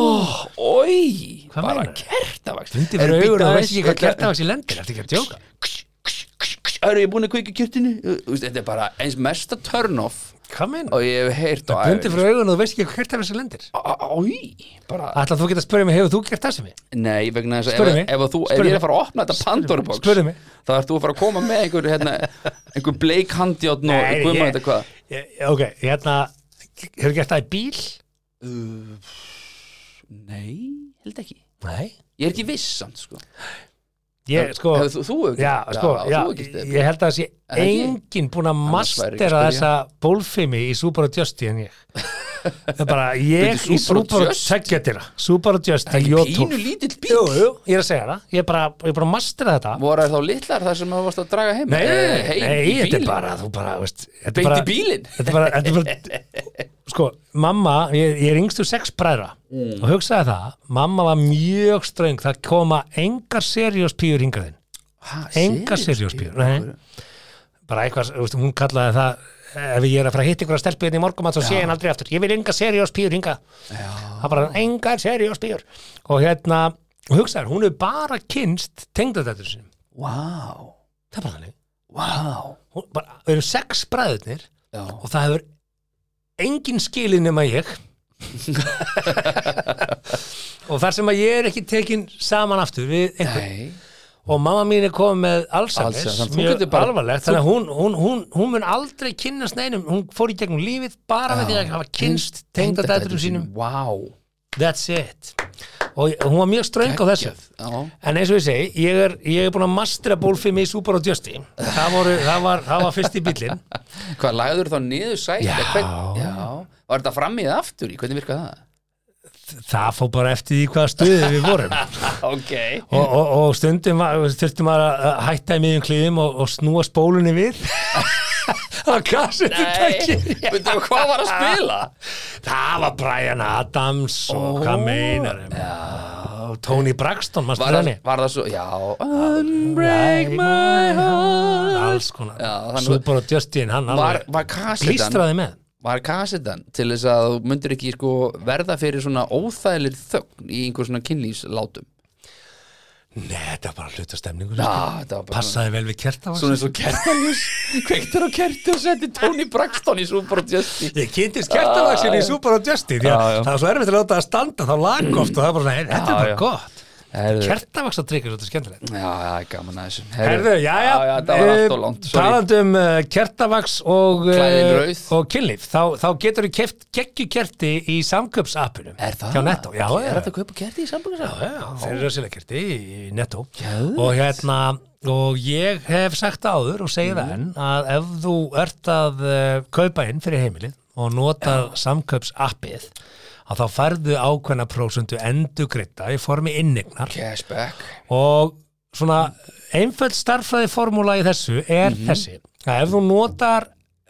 oi, Hvað bara meinarðu? kertavaks Undir fyrir augur og veist ekki hvað kertavags í lendir Þetta er ekki að djóka Eru ég búin að kveika kjörtinu? Þetta er bara eins mesta turn off Hvað meina? og ég hef heyrt á Undir fyrir augun og þú veist ekki hvað kertavags í lendir Æ, bara Ætla þú geta að spyrja mig, hefur þú gert það sem ég? Nei, vegna þess Spurðu að mig. ef, ef, að þú, ef Spurðu ég er mig. að fara að opna þetta Pandora box Spurðu mig. þá ert þú að fara að koma með einhver, hérna, einhver bleik handjátn og Nei, guðma ég- þetta hvað Ég- Ok, hérna, hefur gert það í bíl? Nei, held ekki Nei Ég er ekki viss samt, sko Ég, sko Hefur Þú, þú hefur Já, sko, já, þú hefur gert þetta. ég held að það sé Er það ekki? enginn búinn að Annars væri ekki að mastera spyrja. þessa bólfimi í Subaru Justy en ég það er bara ég Bíddu, í Subaru Subaru Justy? Tuggetira Subaru Justy Ekki Jótúr pínu lítill bíl Jú, jú, ég er að segja það ég er bara, ég er bara að mastera þetta Voru þær þá litlar þar sem þú varst að draga heim Nei, Eh, nei, heim nei, í þetta er bílinn. bara, þú bara, veist þetta er Beint bara- í bílinn Þetta er bara, þetta er bara sko, mamma, ég, ég er yngstur sex bræðra og hugsaði það, mamma var mjög ströng, það koma engar serióspíur hingaðinn, engar serióspíur nei. bara eitthvað, þú veist, hún kallaði það ef ég er að fara að hitta ykkur að stelpa hérna í morgum þá sé ég hann aldrei aftur, ég vil engar serióspíur hingað það bara engar serióspíur og hérna, og hugsaði, hún er bara kynst tengdadættur sinni, Vá, það er bara þannig vá hún, bara, við erum sex bræðurnir Já, og það hefur engin skilin nema ég og þar sem að ég er ekki tekin saman aftur við einhvern nei og mamma mín er komið með Alzheimer's, Alzheimer's, þú mjög getur bara- alvarlegt þannig að hún, hún, hún, hún mun aldrei kynnast neinum hún fór í gegnum lífið bara með því að hafa kynst tengdadætturum sínum Vá that's it og ég- hún var mjög ströng á þessu Já, En eins og ég segi, ég er, ég er búin að mastra bólfið mig í Super og Justy. Það, voru, það, var, það var fyrst í bílinn. hvað lagður þá niður sæti? Já. Hvern, já Var þetta fram í það aftur í? Hvernig virkaði það? Það fór bara eftir því hvaða stuði við vorum. ok og, og, og stundum var- þurftum að að hætta í miðjum klíðum og, og snúa spólunni við á kassetutæki Nei, veitum við hvað var að spila? það var Brian Adams og hvað meinar og Tony Braxton manstu Var, það- þannig var það svo, já Unbreak my heart alls konar Já, þannig- Super og Justin hann Var, alveg var kassetan plístraði með Var kassetan til þess að þú myndir ekki sko, verða fyrir svona óþægileg þögn í einhver svona kynlýslátum Nei, þetta var bara hluta stemningu sko. Já, Ah, þetta var bara passaði vel við kerta Svona eins og kertaljus Kveiktir á kerti og setti Tony Braxton í Super Justy Ég kynntist kertavaksin í Super og Justin því Já, að já. það var svo erfitt að láta það standa þá lag oft og það var bara, svona, þetta er Já, já. bara gott Herðu Já, Kertavaksatrykk er svolítið skemmtilegt það er gaman að þessu Herðu, já, já, já, það var allt og langt Sorry, Talandi um uh, kertavaks og, eh, Klæðin rauð. og kynlíf þá, þá getur þú keft geggjukerti í samköpsappinu er það? Hjá Netto, já, Er já, þetta að kaupa kerti í sambungarsafn? já, þeir eru að selja kerti í Netto Geðveikt. Og hérna, og ég hef sagt áður og segi Mhm. það enn að ef þú ert að uh, kaupa inn fyrir heimilið og nota samköpsappið að þá færðu ákveðna prósundu endugreita í formi innegnar Cashback og svona einföld starffræði formúla í þessu er þessi að ef þú notar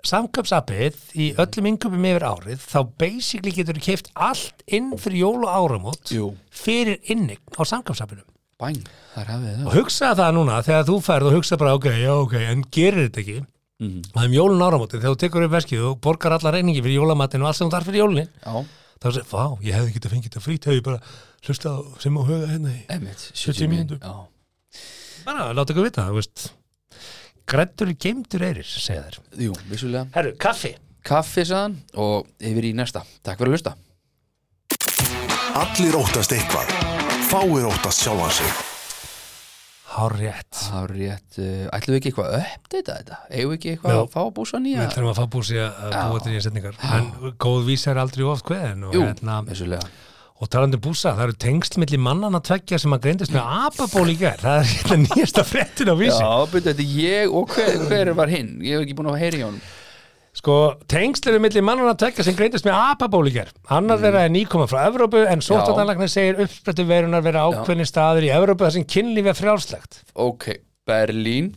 samköpsappið í öllum yngöpum yfir árið þá basically getur þú keift allt inn fyrir jól og áramót Jú. fyrir innig á samköpsappinu Bang, þar hafið og það hugsa það núna þegar þú færð og hugsa bara ok, já ok, en gerir þetta ekki að um jólun áramóti þegar þú tekur upp verkið og borgar alla reyningi fyrir jólamatinn og allt sem þú þarf fyrir jólin Já, þá sé, vá, ég hefði getað fengið þetta frýtt hefði ég bara hlusta á sem á huga hérna í emmitt 70 mínútur. Já bara láta ykkur vita, þú veist grættur geimtur eirir, segja þær Jú, vissulega Herru, kaffi Kaffi saðan og yfir í næsta Takk fyrir að hlusta Allir óttast eitthvað. Fáir óttast sjálfan sig. Hár rétt Það er rétt uh, Ætlum við ekki eitthvað að uppdata þetta? Eigum við ekki eitthvað Já. að fá að búsa nýja? Við þurfum að fá búsi að að búa til nýja setningar En góð vísa er aldrei oft kveðin og, Jú, hérna, vissulega og talandi um búsa, það eru tengsl milli mannana tveggja sem að greindist með apaból í gær Það er hérna nýjasta fréttin á vísi Já, byrja þetta er ég og hver, hver var hinn? Ég hef ekki búin að heyra í honum Sko, tengsl eru milli mannana tveggja sem greindist með apaból í gær Annar þeirra er nýkoma frá Evrópu en sóttatanlagnar segir uppsprettu verunar vera ákveðni staðir í Evrópu þar sem kynlíf er frjálslegt Ok, Berlín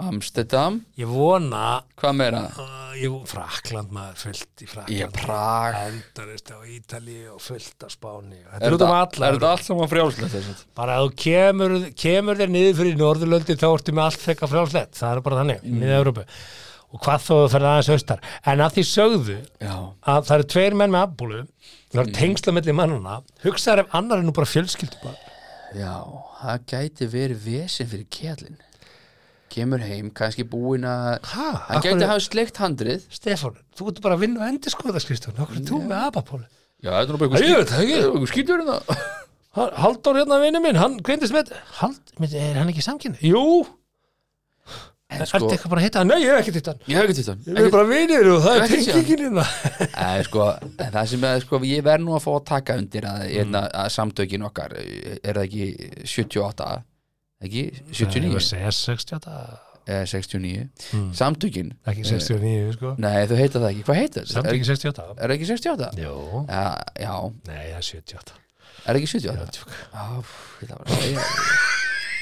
Amsterdam Ég vona Hvað meira? Uh, jú, Frakland maður fullt í Ég Frakland Prag Endarist á Ítali og fullt á Spáni og Þetta Er er út um þetta- alla er þetta Evrópu. allt saman frjálslegt þessum? Bara að þú kemur, kemur þér niður fyrir Norðurlöndi þá ertu með allt fekka frjálslegt Það er bara þannig, mm. miða Evrópu Og hvað þó þú ferð aðeins austar En að því sögðu Já Mm. að það eru tveir menn með afbúlu Það eru tengsla melli mannuna Hugsaðar ef annar er nú bara fjölskyldu bara. Já, það gæti verið vesen fyrir kjallin Kemur heim, kannski búin að Ha? Hann Af gæti hverju- hafa sleikt handrið Stefán, þú ertu bara að vinna og endi skoða skristun Hvað er þú með ababúlu? Já, þetta er nú bara eitthvað Ég veit það ekki. Eitthvað skýtur um það Ha- Halldór hérna vinnu minn, hann greindist með Hald, með- er hann ekki samkynni? Jú, En sko, ertu eitthvað bara að hitta hann? Nei, ég hef ekki hitta hann Ég hef ekki tittan Við erum bara vinir og það er Ekki séð hann. tengingin hérna Nei, sko, en það sem að, sko, ég verð nú að fá að taka undir að, mm. að, að samtökin okkar eh, er það ekki 78 ekki 79 segja 68 eða 69 Mm. samtökin, Ekki 69, sko nei þau heita það ekki hvað heita það, Samt er, ekki 68 er það ekki 68? Jú, Ja, já, nei, það er 78 er það ekki 78? tjók. Já, pff, ég ætla bara að segja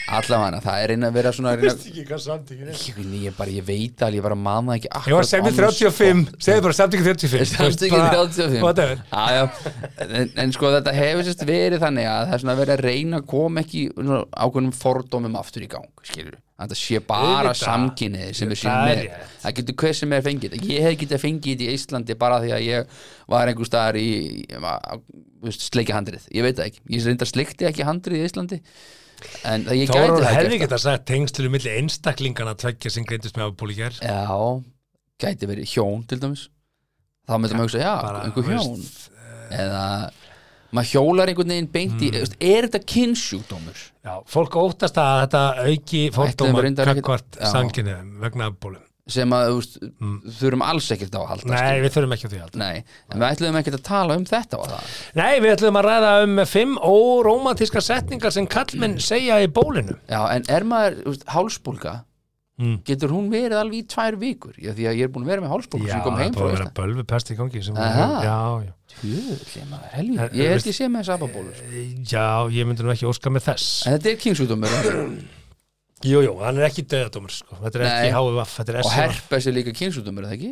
allavega það er einn að vera svona reyna, veist ekki hvað samtíkin er ég, ég, bara, ég veit alveg, ég bara manna ekki Ég var akkurat sko. sem í on the 35, spot. segðu bara samtíkin 35 Samstökin Bara- 35 Whatever Já, já. En, en sko þetta hefur sérst verið þannig að það er svona verið að reyna að koma ekki svona ákveðnum fordómum aftur í gang skilur Þetta sé bara Auðvitað. samkynnið sem við séum Það er með rétt. Það getur hver sem er fengið þetta. Ég hef getið fengið þetta í Íslandi bara því að ég var einhver staðar í ég var á- þú veist, sleikja handrið, ég veit það ekki Ég reyndar sleikti ekki handrið í Íslandi En það ég gæti Þórar það hefði gert það. geta sagt tengslum milli einstaklingana tveggja sem greindist með afbúli hér Já, gæti verið hjón til dæmis Þá myndum við hugsa, já, bara, einhver þú veist, eh, hjón Eða maður hjólar einhvern veginn beint í, mm. er þetta kynnsjúkdómur? Já, fólk óttast að þetta auki við fordóma reyndar ekkert- kakvart Já. sanginu vegna afbúlum. Sem að, þú veist, þurfum alls ekkert á að halda Mm. Nei, skilur. við þurfum ekki á því að halda. Nei, en við ætluðum ekkert að tala um þetta og það Nei, við ætlum að ræða um fimm órómantíska setningar sem kallmenn segja í bólinu. Já, en er maður, þú veist, hálsbólga Mm. getur hún verið alveg í tvær vikur já, því að ég er búin að vera með hálsbólga sem kom það er heim búið frá að vera Ísland bölvupest í gangi. sem- Aha. Já, já. Jöðli maður, helvíð, En- ég en held ég sé með sababólur Já, ég myndi nú ekki óska með þess. En þetta er kynnsjúkdómur Jú, jú, hann er ekki döðadómur, sko. Þetta er Nei. ekki HVF, þetta er og SVF. herpes er líka kynnsjúkdómur, er það ekki?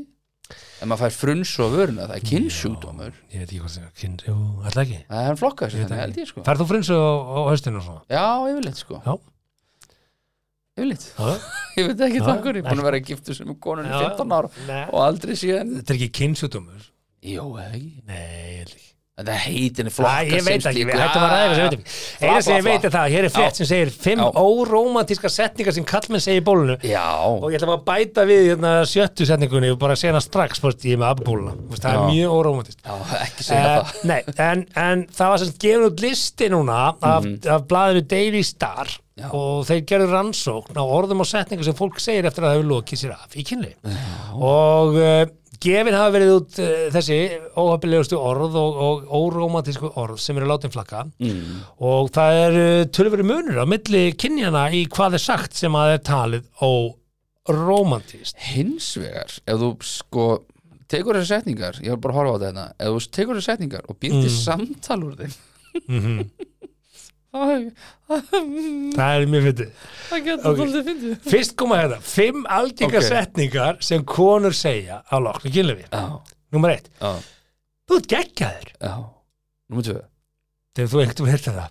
En maður fær fruns og vöruna, það er kynnsjúkdómur Ég veit ekki hvað það er, kyn- jú, alltaf ekki. Það er hann flokkað sér þannig, það held ég sko Færð þú frins á, á höstinu og svona? Já, yfirleitt sko Já. Yfirleitt, Já. ég veit ekki Já, það hverju Ég er búin nei. að vera giftur sem konun í Já. 15 ára Nei. og aldrei síðan Þetta er ekki kynnsjúdómur? Jó, eða ekki Nei, ég veit ekki. Það heitin er Æ, flokkað ég veit sem ekki, slíkur. við hættum að ræða þess að veit ekki Eina sem ég fla, veit er það, hér er frétt Já. sem segir fimm Já. órómantíska setningar sem kallmenn segir í bólunu og Já, ég ætla bara að bæta við hérna, sjöttu setningunni og bara segna strax, fórst, ég er með abbóluna það er Já. mjög órómantist já, ekki segja Uh, það nei, en, en það var sem sagt gefin út listi núna af, af blaðinu Daily Star Mhm. Já. og þeir gerðu rannsókn á orðum og setningu sem fólk segir eftir að það hefur lokið sér af í kynli og uh, gefin hafa verið út uh, þessi óhapilegustu orð og, og órómatísku orð sem eru látin flakka Mhm. mm. og það er uh, tölveri munur á milli kynjana í hvað er sagt sem að er talið órómantist hins vegar ef þú sko tekur þessar setningar, ég var bara að horfa á þetta hérna, ef þú tekur þessar setningar og býrtir mm. samtal úr þeim Mhm. mm -hmm. það er mjög fyndið það getur Ok. okay. svolítið fyndið Fyrst koma hérna, fimm algengar Ok. setningar sem konur segja á loknu kynlefi. já, Númer eitt, já, þú ert geggjaður. já, númer tvö Þegar þú einhvern veginn hérta það.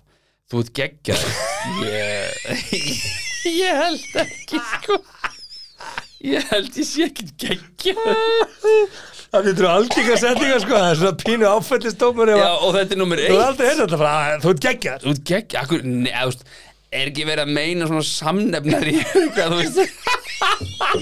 þú ert geggjað ég, ég held ekki sko ég held ég sé ekki geggjað Það þetta eru algengar setningar sko, það er svona pínu áfællistómur ef já, að og þetta er númer þú er eitt aldrei hérta þetta, bara, "Æ, þú ert geggjaður. þú ert geggjað, akkur, neðust er ekki verið að meina svona samnefnar í hvað þú veist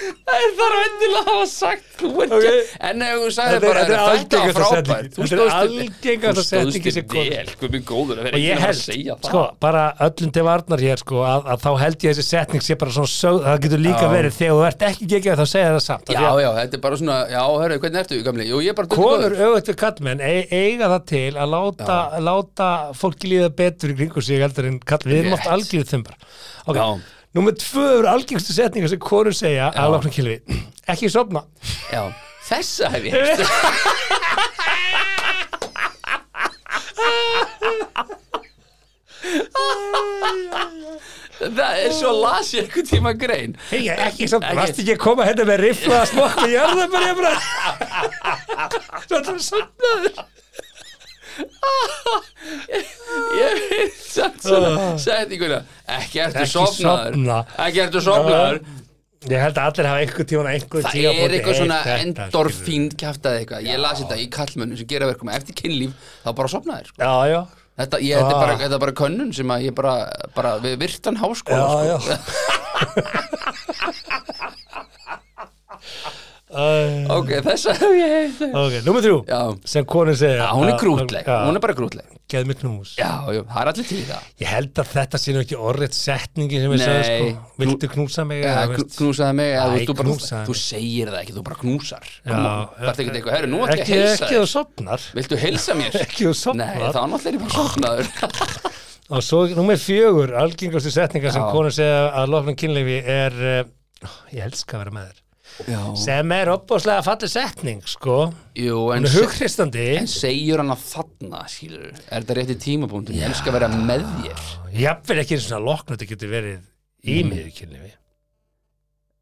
Það er þarf endilega að hafa sagt þú ert Ok. okay. en ef þú sagði Þetta er- bara þetta er var algengasta frábært." setningin. Þú Þetta er stóðst þig- algengasta setningin Þú sem stóðst þig kom. vel, hvað minn góður það Og er ég ekki að segja held, það sko, bara öllum til varnar hér, sko, að, að þá held ég þessi setning sé bara svona sögð, það getur líka Já. verið þegar þú ert ekki geggjaður þá segja það samt. Af Já, því að já, þetta er bara svona, já, hörru, hvernig ertu, gamli? Jú, ég er bara Konur dullu góður. auðvitað kallmenn e- eiga það til að láta, láta fólki líða betur í kringu sig heldur en kallmenn, við erum oft Rétt. algjörð þumbar okay. Já. Númer tvö eru algjörðstu setningar sem konur segja að lokna kylfi ekki sofna Já, þessa hef ég hefst. Það er svo las ég einhvern tíma grein hey, ekki sofna, Ekki. varst ekki að koma hérna með rifla að smokka í jörðum bara ég bara Svo þetta er sofnaður Ég veit samt svona setninguna Ekki ertu Ah. Ekki Ah, sofnaður sofna. Ekki ertu sofnaður Ég held að allir hafa einhver tíma einhver Það er eitthvað svona endorfín kæftað eitthvað Ég las þetta í kallmönnum sem gera verkum að Eftir kynlíf þá bara sofnaður sko. Já, já Þetta, ég, þetta, er Ah. bara, þetta er bara könnun sem að ég bara, bara við virtan háskóla sko. Já, já Ok, þessa hef ég heilt Ok, nummer þrjú Já. sem konur segja Já, hún er grútleg, hún er bara grútleg Geð mig knús Já, já, það er allir til í það Ég held að þetta sé nú ekki orðið setningi sem ég Nei. segja sko Viltu knúsa mig? ja, eða, kn- veist? Knúsaði Eh, mig, eða, Æ, þú veist, þú, bara, knúsaði þú mig. segir það ekki, þú bara knúsar Já, Það er ekkert eitthvað, herru, nú ætlum ég Ekki, að heilsa ekki þú þér sopnar Viltu heilsa mér? Ekki þú Nei, sopnar þá náttúrulega er ég bara sopnaður Og svo nummer fjögur, algengastu setningar sem Já. konur segja að loknum kynleifi er uh, Ég eh, elska að vera með þér sem er opbóðslega fallið setning sko, Jú, en, hún er hughristandi en segir hann að þarna, skilur Er þetta rétti tímapunktin? Ég elska að vera með þér jafnvel ekki einu svona lokn þetta getur verið Mm. í miður kynlífi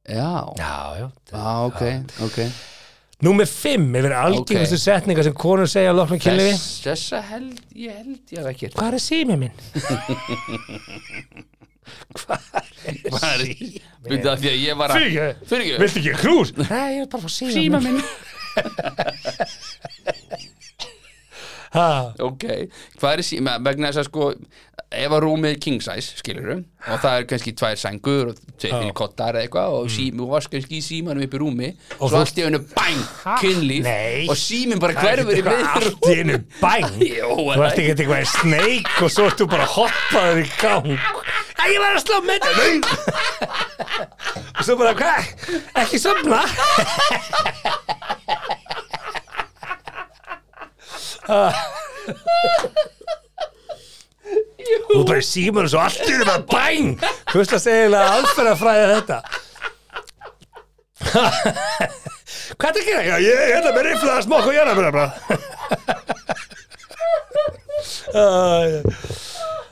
Já, já, já, já ok, ok Númer 5 yfir algengustu Ok. setningar sem konur segja að loknum kynlífi Þess- Þessa held, ég held ég hef ekki Hvað er símið minn? Hvað er því? Byrðu að því að ég var að Fyrirgefðu. Fyrirgefðu. Viltu ekki krús? Nei, ég vil bara fá síma minn Ha, Ok, hvað er síma? Vegna þess að sko, ef að rúmið er king size, skilur og það er kannski tvær sængur og tveir fyrir kottar eða eitthvað og sími, og varst kannski í símanum upp í rúmi Mm. Og svo þú- allt í einu bang, kynlíf Nei. og símin bara Það er hverfur í ekkert eitthvað miður allt í einu bæn Jó, Þú ert ekki eitthvað í snake og svo ertu bara hoppaður í gang Æ, ég var að slá með þetta Og svo bara, hvað? Ekki sofna Þú ert bara í símanum svo allt í einu bara bæn Hvers að segja eiginlega aðferðafræði þetta Hvað er að gera? Já, ég er hérna með riflaða smokk og jörnabra bara Æ,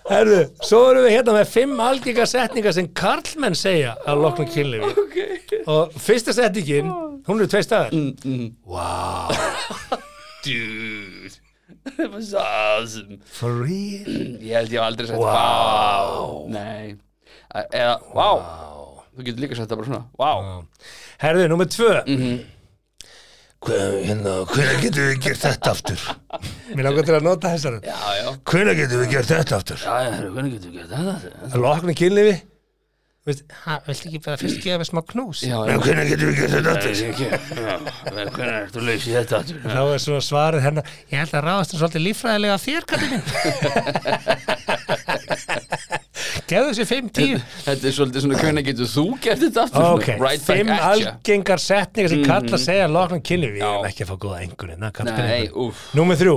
Herðu, svo erum við hérna með fimm algengar setningar sem karlmenn segja að loknum kynlífi og fyrsta setningin, hún er tvei staðar Mm. Dude, that was awesome for real Ég held ég hef aldrei sagt wow Nei, eða wow Þú getur líka sagt það bara svona wow Herðu, nummer tvö Mhm. Hvað, hérna, hvernig getum við gert þetta aftur? mér langar til að nota þessar Já, já, Hvernig getum við gert þetta aftur? já, já, herru, hvernig getur við gert það? að loknum kynlífi Veist, ha, viltu ekki bara fyrst gefa mér smá knús? Já, já, En hvernig getum við gert þetta aftur? hvernig er þú laus í þetta? aftur? Þá er svona svarið hérna, hennar, ég held að ráðast um svolítið líffræðilega af þér, kallið minn. Gefðu þessi 5-10. Þetta er svolítið svona, hvernig getur þú gert þetta aftur? svona? Ok, right fimm back at ya. Mhm. algengar setningar sem kalla segja loknum kynlíf. Við erum Já. ekki að fá góða engunin. Nei, úff. Mhm. Númer þrjú.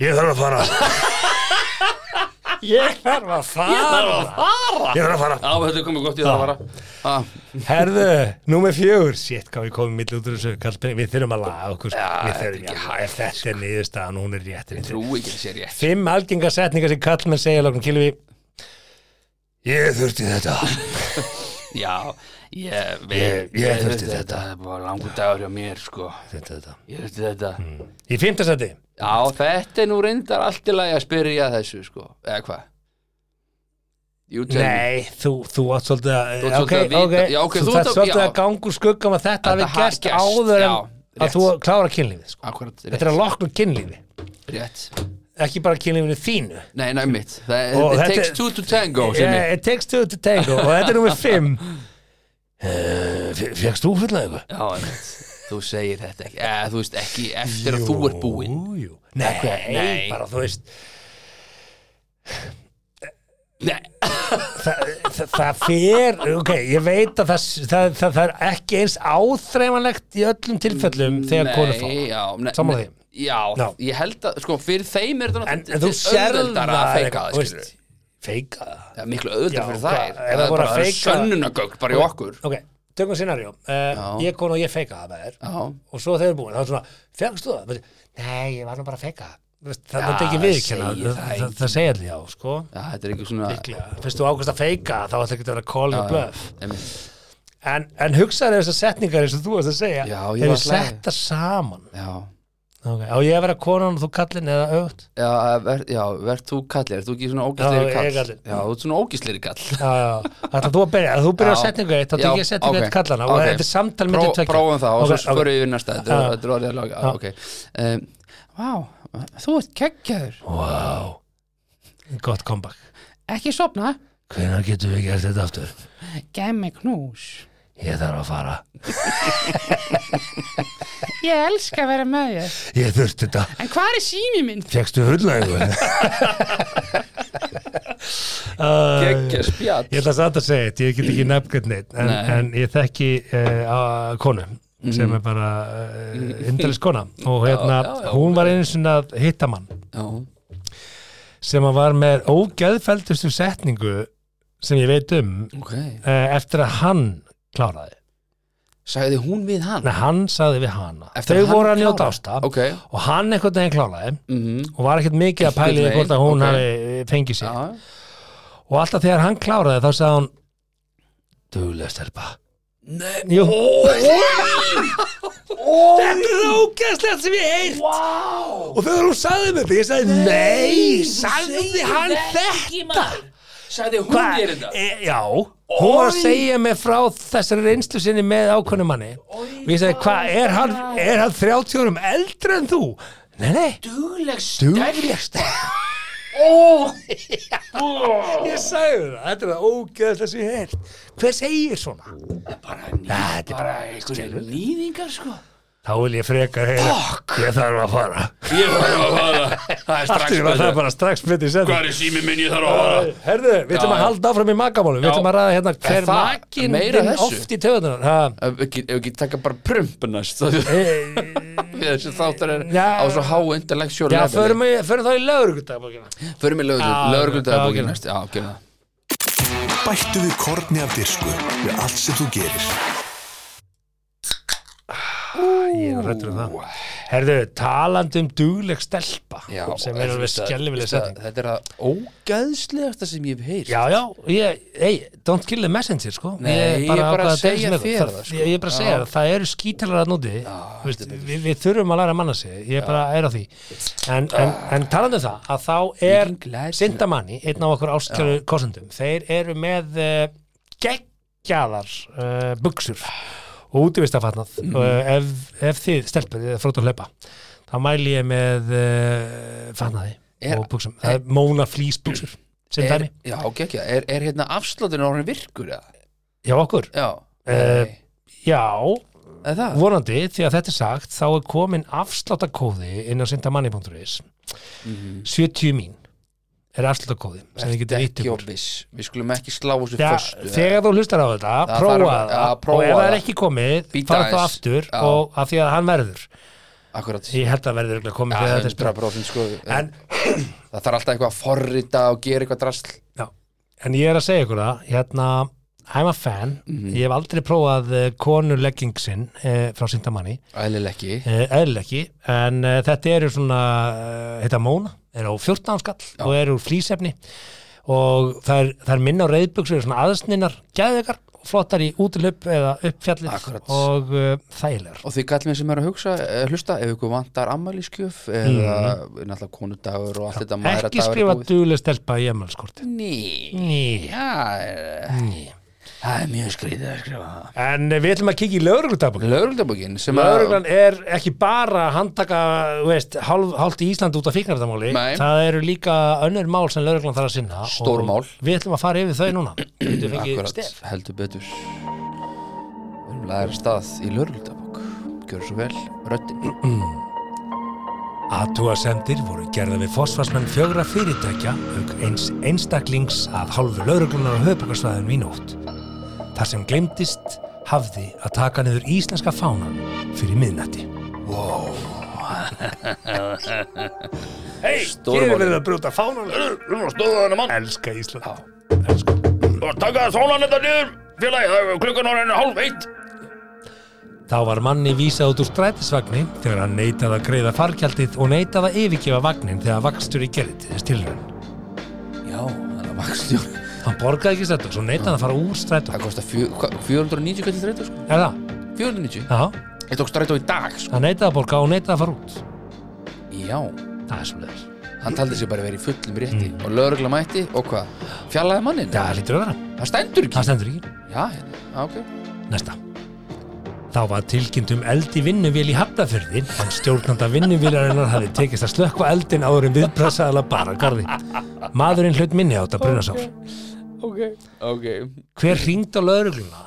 Ég þarf að fara, Ég þarf að fara. ég þarf að fara. Á, þetta er komið gott í það að vara. Ah, Herðu, númer fjögur. Sétt, hvað við komum mill út úr þessu. Kallbyrning, við þurfum að laga okkur. sko. Já, við þetta er þurfum ekki að sko. laga. Þetta er niðurstaðan, hún er rétt. Við trú þurfum- ekki að sé rétt. Fimm algengar setningar sem kallmenn segja loknum kynlífi. Ég þurfti þetta. Já, ég, við, Ég- ég þurfti þetta. þetta. er bara langur dagur hjá mér, sko. Þetta, þetta. Ég þurfti þetta. Hmm. Í fimmta seti. Já, þetta er nú reyndar allt í lagi að spyrja þessu, sko. Eða hvað? Jú, tell me. Nei, þú, þú átt svolítið að, Þú átt ok, svolítið að ok, vita- já, ok, þú þú þarft átt að- svolítið já. að ganga úr skuggum að þetta hafi hafi gerst gerst, áður en að já, rétt. þú klára kynlífið, sko. Akkurat, Þetta er rétt, að lokna kynlífi, rétt. ekki bara kynlífinu þínu. Nei, næ, mitt. Það, Og it þetta- takes two to tango, sem ég. Yeah, it takes two to tango og þetta er nummer fimm. Eh, Fegst þú fulla eitthvað? Já, einmitt. Þú segir þetta ekki. Eða, þú veist, ekki eftir að þú ert búinn. Jú, jú. Nei, nei. bara þú veist, Nei, það, það, það fer, ok, ég veit að það, það, það, það er ekki eins áþreifanlegt í öllum tilfellum þegar konur fá. Nei, já, ne, Sammála ne- því? Já, Já. ég held að, sko, fyrir þeim er þetta En, en þú sérð það, auðveldara að feika eitthvað, það, þú skilur veist, feika það. Það er miklu auðveldara Já, fyrir hvað, þær ef Það það er voru að bara það er feika- sönnunagögn bara í okkur Ok, tökum scenarjó. Uh, ég konu og ég feika það með þér. Já, og svo þegar búin, þá er svona, fegstu það? Bara, Nei, ég var nú bara að feka það. Þú veist, Það Já, myndi ekki það viðkjanna, segir það, það það, enginn. það segja allir já, sko. já, þetta er ekki svona Líklega, fyrst þú ákvæmst að feika, þá ætla ekki að vera call and bluff. einmitt. En, en hugsaðu þessar setningar eins og þú varst að segja, Já, ég þeir var eru að hlæja. settar saman. Já, Okay. Á ég að vera konan og þú kallin eða aukt? já, ver, já, verð þú kallir, ert þú ekki svona Já, ógísleiri ég er kall kallinn. Já, þú ert svona ógísleiri kall Já, já, ætla þú að byrja, ef þú byrjar Já. að setningu eitt, þá tek ég Já, að setningu ok, eitt kallana og ok. þetta er samtal myndi Pró- tvekja. Prófum það og Ok, svo ok. Ah. spörum við næsta Þetta Já. er- þetta er orðið að laga, ok Em, Vá, þú ert keggjaður Gott comeback. Ekki sopna, Hvenær getum við gert þetta aftur? gef mig knús. Ég þarf að fara. Ég elska að vera með þér. Ég þurfti þetta. En hvað er sími minn? Fegst þú fulla eitthvað? Uh, Geggja spjall Ég ætla samt að segja þetta, ég get ekki nefngjönd neitt en, Nei. Mm. en ég þekki uh, að konu sem er bara uh, indalist kona og hérna, já, já. hún var einu sinni að hitta mann Já, sem að var með ógeðfeldustu setningu sem ég veit um ok uh, eftir að hann kláraði sagði hún við hann Nei, hann sagði við hana Þau Eftir að hann voru að njóta kláraði? ásta Ok. og hann einhvern veginn klálaði og var ekkert mikið að pæli Einhvern hvort að veginn, hún ok. hafi eh, fengið sér Já. og alltaf þegar hann kláraði þá sagði hann Duglega stelpa Nei Jú Þetta er það ógæðslegt sem ég heilt wow. Og þegar hún sagði mér þetta, ég sagði Nei, sagði hann þetta sagði hún Hva- við þetta E, já, hún var að segja mig frá þessari reynslu sinni með ákveðnum manni og ég sagði, hvað, er hann, er hann 30 árum eldri en þú? Nei, nei, duglegst duglegst Ó, ég sagði það, þetta er það ógeðast sem ég heilt Hver segir svona? bara, Þetta er bara einhverju nýðingar sko Þá vil ég frekar heyra Ég þarf að fara ég þarf að fara það er strax Allt í einu var Það er betra. bara strax betið sem hvað er sími minn ég þarf að fara Herðu, við ætlum Já, að já. halda áfram í makamálum Við Já. ætlum að ræða hérna hver það makinn meira þinn þessu? oft í töðunar Það ef við ekki, ef við ekki taka bara prump næst þá- Við þessi þáttar er Já. á svo há intellectual Eh, Já, level. förum, í, förum þá í lögurugdagbókina förum við Já, já, lögurglutaðabókin ok. næst já, gerum það Bættu við korni af dirsku við allt sem þú gerir. Ég er rættur um það Herðu, talandi um dugleg stelpa Já, sem er alveg þetta- skelvileg þetta- setting Þetta er það ógæðslegasta sem ég hef heyrt Já, já, ég, hey, don't kill the messenger sko Nei, ég er bara að ákvað segja deila með þér þú. það, sko. Ég er bara að segja Já. það, það eru skítalara núti við, við, við þurfum að læra að manna sig ég bara er á því en, en, en talandi um það, að þá Mikil er glæsileg. Sindamanni, einn af okkur áskjöru kosendum þeir eru með uh, geggjaðar uh, buksur og útivistafatnað Mhm. mm. ef, ef þið stelpur eða frótt að hlaupa þá mæli ég með uh, fatnaði Er- og buksum, það er móna flýs buksur sem er, dæmi, já, gekkja, er, er hérna afsláttin á hann virkur eða? hjá okkur Já, Eh, Nei. já, Er það? Vonandi, því að þetta er sagt, þá er komin afsláttakóði inn á sindamanni.is Mhm. 70 mín er afsláttakóði sem þið getur Ekki ítt ykkur. óbis, við skulum ekki slá þessu Ja, föstu þegar þú hlustar á þetta, Það prófa þarf- það ja, og prófa ef það er það. ekki komið, Bíta fara þá aðeins. aftur Já. og af því að hann verður Akkurat ég held að verður örugglega komið þegar þetta er spyrð 100% sko en, Það þarf alltaf eitthvað að forrita og gera eitthvað drasl já, en ég er að segja ykkur það hérna, I'm a fan Mhm. ég hef aldrei prófað eh, konulegging sinn eh, frá sindamanni Ælileg ekki Eh, eðlilega ekki, en uh, þetta eru svona, uh, heita Móna, er á 14 skall og er úr flýsefni og það er, það er minna á reyðbuksur, svona aðsninnar, gæðekar, flottar í útilöp eða uppfjallið Akkurat. og uh, þægilegar. Og því kallum við sem er að hugsa, eh, hlusta ef ykkur vantar ammæliskjöf eða náttúrulega konudagur og allt þetta maður Ekki skrifa duðlega stelpa í emalskorti. Ný Ný. Já, er- það er mjög skrítið að skrifa það En eh, við ætlum að kíkja í lögreglutabokin. Lögreglutabokin sem að- Lögreglan er ekki bara að handtaka, þú veist, hálf, hálft í Ísland út af fíknardamáli. Nei. Það eru líka önnur mál sem lögreglan þarf að sinna. og Stórmál. Við ætlum að fara yfir þau núna. Við ætlum að Akkurat, heldur betur Við erum laðir að stað í lörguldabók Gjör svo vel, röddinn Atúasemdir voru gerða við fósfarsmenn fjögra fyrirtækja auk eins einstaklings að hálfu lauruglunar á höfbrukarsvæðinu í nótt. Þar sem glemdist hafði að taka niður íslenska fánan fyrir miðnætti. Wow. Hei, Stórmál. hér er verið að brjóta fánan. Við erum að stóða þennan mann Elska Ísland. Já. og taka þólan þetta niður Félagi, klukkan ára henni hálf eitt Þá var manni vísað út úr strætisvagni þegar hann neitaði að greiða fargjaldið og neitaði að yfirgefa vagnin þegar vakstur í gerði til þess tilraun. Já, þannig að vaxtjón Hann borgaði ekki strætó, svo neitaði hann að fara úr strætó. Það kostar fjö- hvað, 490 kall strætó sko Er það? 490 Já. Ég tók strætó í dag sko Hann neitaði að borga og neitaði að fara út Já, Það er svolítið hann taldi sér bara verið í fullum rétti Mm. Og lögregla mætti og hvað Fjallaði mannin Það lítur að vera, Það stendur það ekki stendur ekki Já, hérna, já, ok Næsta Þá var tilkynnt um eld í vinnuvél í Hafnafjörði en stjórnanda vinnuvélarinnar hafði tekist að slökkva eldin áður en viðbrasaðala bara á garði. Maðurinn hlut minni átt að brunasál. Ok Hver hringd á laurugluna?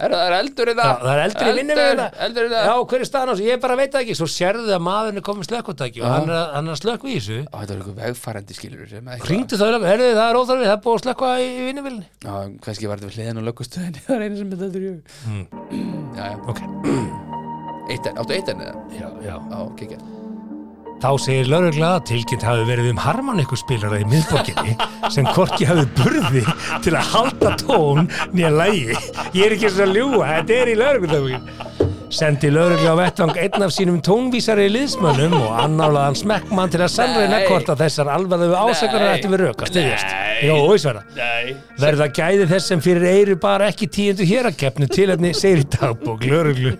Er það er eldur í Já, það? það er eldur í vinnuvél. Eldur í Já, það hver er staðan á þessu? Ég bara veit það ekki. Svo sérðu að maðurinn er komið slökkutæki og Já. hann er, að- hann er að slökkva í þessu. Á, Þetta er eitthvað vegfærandi skilur sem eitthvað- Hringdu þá lögum, herðu það er óþarfið, það er búið að slökkva í vinnuvélinni. Já, kannski var þetta við hliðin og lögustöðinni Það er einu sem þetta er í hug Já, já, Ok, eitt enn, áttu eitt enn eða? já, já. Já, kekja Þá segir laurugla að tilkynnt hafi verið um harman ykkur spilara í miðborginni sem hvorki hafi burði til að halda tón nýja lægi. Ég er ekki eins og að ljúa, þetta er í lauruglutafín. Sendi laurugla á vettvang einn af sínum tónvísari liðsmönnum og annálaðan smekkmann til að sannreina Nei. hvort að þessar alvarlegu ásakarar Nei. ættu við rök að styðjast. Nei. Jó, Ísverða. Nei Verða gæði þess sem fyrir eyru bara ekki tíundu hérakefnu tilefni segir í dagbók lauruglu.